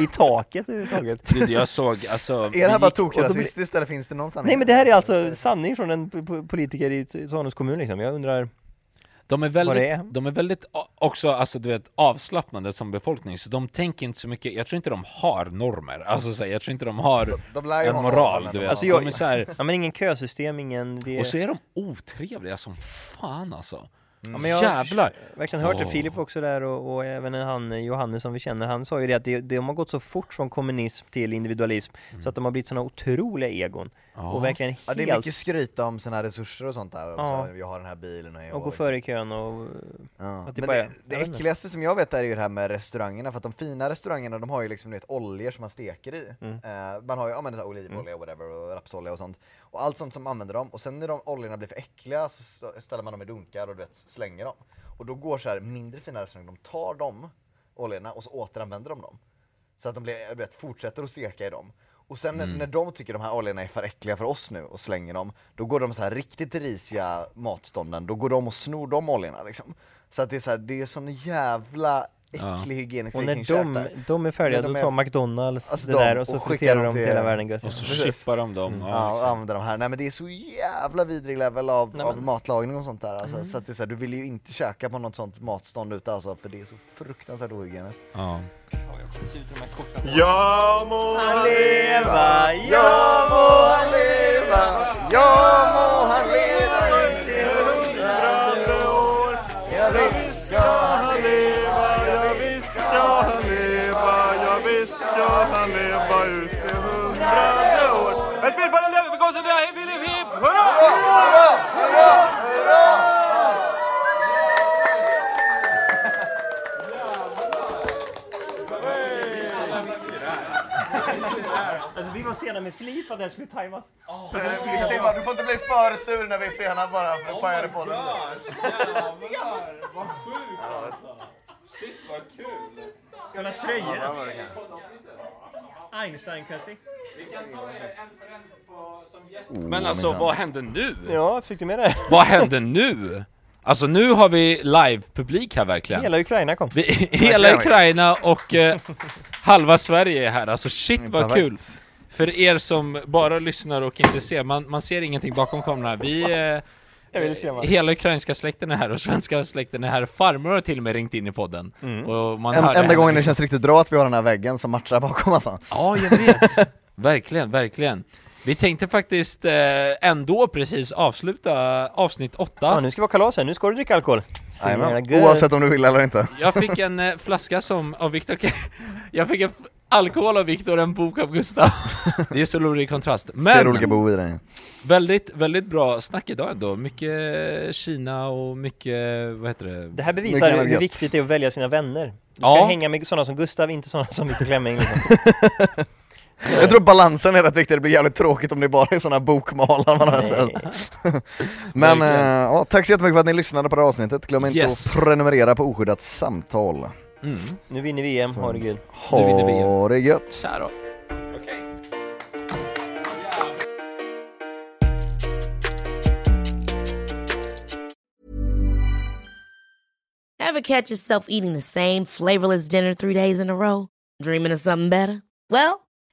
Speaker 3: [laughs] I taket överhuvudtaget?
Speaker 1: Du, jag såg, alltså...
Speaker 2: Är det här bara
Speaker 3: och då blir-
Speaker 2: tokrasistiskt eller finns det någon sanning?
Speaker 3: Nej men det här är alltså sanning från en po- po- politiker i T- Tanums kommun liksom. Jag undrar,
Speaker 1: De är
Speaker 3: Vad det
Speaker 1: väldigt,
Speaker 3: är.
Speaker 1: de är väldigt a- också alltså, du vet, avslappnade som befolkning, så de tänker inte så mycket, jag tror inte de har normer, alltså, så här, jag tror inte de har
Speaker 2: de lär ju
Speaker 1: en
Speaker 2: ha
Speaker 1: moral,
Speaker 2: normer,
Speaker 1: du vet.
Speaker 3: Alltså,
Speaker 1: de
Speaker 3: jag-
Speaker 1: är så här,
Speaker 3: [laughs] ja men ingen kösystem, ingen... Det...
Speaker 1: och så är de otrevliga som fan alltså.
Speaker 3: Ja, men jag har
Speaker 1: Jävlar!
Speaker 3: verkligen hört det,
Speaker 1: Åh.
Speaker 3: Filip var också där och, och även han eh, Johannes som vi känner, han sa ju det att det, de har gått så fort från kommunism till individualism så att de har blivit sådana otroliga egon och verkligen helt...
Speaker 2: Mm. Ja, det är mycket skryta om sina resurser och sånt där. Och
Speaker 3: Ja.
Speaker 2: så, jag har den här bilen och jag
Speaker 3: Och gå
Speaker 2: liksom-
Speaker 3: före i kön och...
Speaker 2: Ja.
Speaker 3: Att det
Speaker 2: Men
Speaker 3: bara-
Speaker 2: det, det
Speaker 3: jag vet inte.
Speaker 2: äckligaste som jag vet är ju det här med restaurangerna, för att de fina restaurangerna de har ju liksom du vet, oljor som man steker i. Eh, man har ju ja, men, så här, olivolja och whatever och rapsolja och sånt. Och allt sånt som använder dem. Och sen när de oljorna blir för äckliga så så ställer man dem i dunkar och du vet, slänger dem. Och då går så här mindre fina restauranger, de tar de oljorna och så återanvänder de dem. Så att de blir, du vet, fortsätter att steka i dem. Och sen när- när de tycker de här oljorna är för äckliga för oss nu och slänger dem, då går de så här riktigt risiga matstånden, då går de och snor de oljorna liksom. Så att det är så här, det är sån jävla äcklig hygienisk
Speaker 3: Och när
Speaker 2: vikingskäk
Speaker 3: de,
Speaker 2: där.
Speaker 3: de är färdiga,
Speaker 2: När
Speaker 3: då
Speaker 2: de
Speaker 3: tar
Speaker 2: är-
Speaker 3: McDonalds
Speaker 2: Alltså
Speaker 3: det
Speaker 2: de-
Speaker 3: där och så
Speaker 2: och
Speaker 3: friterar
Speaker 2: skickar
Speaker 3: de
Speaker 2: dem
Speaker 3: till
Speaker 2: till-
Speaker 3: hela världen gött.
Speaker 1: Och så
Speaker 2: Precis.
Speaker 1: chippar de dem.
Speaker 2: Ja,
Speaker 1: Ja,
Speaker 2: och använder de här. Nej men det är så jävla vidrig level av, av matlagning och sånt där. Alltså,
Speaker 3: Mm.
Speaker 2: Så att det är så här, du vill ju inte käka på något sånt matstånd ute alltså, för det är så fruktansvärt ohygieniskt.
Speaker 1: ja.
Speaker 7: Jag må
Speaker 3: leva, jag må han leva, jag må han leva i till hundrade år. Jag visst ska han leva, jag visst ska han
Speaker 7: leva, jag visst ska han leva ut i hundrade år. Ett spel på den övergången, hip, hip, hip, hurra!
Speaker 3: Alltså vi var sena med flit för att det skulle tajmas.
Speaker 2: Du får inte bli för sur när vi är sena bara, för då pajar på den.
Speaker 1: Vad sjukt alltså! Shit vad kul!
Speaker 3: Ska du ha tröjor? Einstein-kastning.
Speaker 1: Men alltså vad händer nu?
Speaker 3: Ja, fick du med det?
Speaker 1: Vad händer nu? Alltså nu har vi live-publik här verkligen.
Speaker 3: Hela Ukraina kom.
Speaker 1: Vi, hela Ukraina och eh, halva Sverige är här, alltså shit vad
Speaker 2: perfekt.
Speaker 1: kul! För er som bara lyssnar och inte ser, man, man ser ingenting bakom kameran.
Speaker 2: [laughs]
Speaker 1: Vi, eh, hela ukrainska släkten är här och svenska släkten är här. Farmor har till och med ringt in i podden. Och man hör det
Speaker 2: Mm. Enda
Speaker 1: här.
Speaker 2: gången det känns riktigt bra att vi har den här väggen som matchar bakom alltså.
Speaker 1: Ja, jag vet! [laughs] verkligen, verkligen. Vi tänkte faktiskt eh, ändå precis avsluta avsnitt
Speaker 3: Ja,
Speaker 1: 8.
Speaker 3: nu ska vi ha kalas här, nu ska du dricka alkohol. Så
Speaker 2: Jajamän.
Speaker 3: jävla gött.
Speaker 2: Oavsett om du vill eller inte.
Speaker 1: Jag fick en eh, flaska som, av Viktor, [laughs] jag fick en f- alkohol av Viktor och en bok av Gustav. [laughs] Det är så rolig kontrast.
Speaker 2: Ser
Speaker 1: Men
Speaker 2: olika behov i dig.
Speaker 1: väldigt, väldigt bra snack idag ändå. Mycket eh, Kina och mycket, vad heter det?
Speaker 3: Det här
Speaker 2: Mycket
Speaker 3: bevisar
Speaker 2: jävla
Speaker 3: hur
Speaker 2: gött.
Speaker 3: viktigt det är att välja sina vänner. Du ska
Speaker 1: Ja.
Speaker 3: hänga med sådana som Gustav, inte sådana som Viktor
Speaker 2: [laughs]
Speaker 3: Klemming liksom.
Speaker 2: Jag tror balansen är rätt viktig, det blir jävligt tråkigt om det bara är sådana bokmalar man har sett. Men eh,
Speaker 1: Verkligen.
Speaker 2: ja, tack så jättemycket för att ni lyssnade på det här avsnittet. Glöm inte
Speaker 1: Yes.
Speaker 2: att prenumerera på Oskyddat samtal.
Speaker 1: Mm.
Speaker 3: Nu vinner vi E EM, har du gud.
Speaker 1: Nu vinner vi igen.
Speaker 2: Ha det gött!
Speaker 1: Så här då.
Speaker 6: Ever catch yourself eating the same flavorless dinner three days in a row? Dreaming of something better? Well,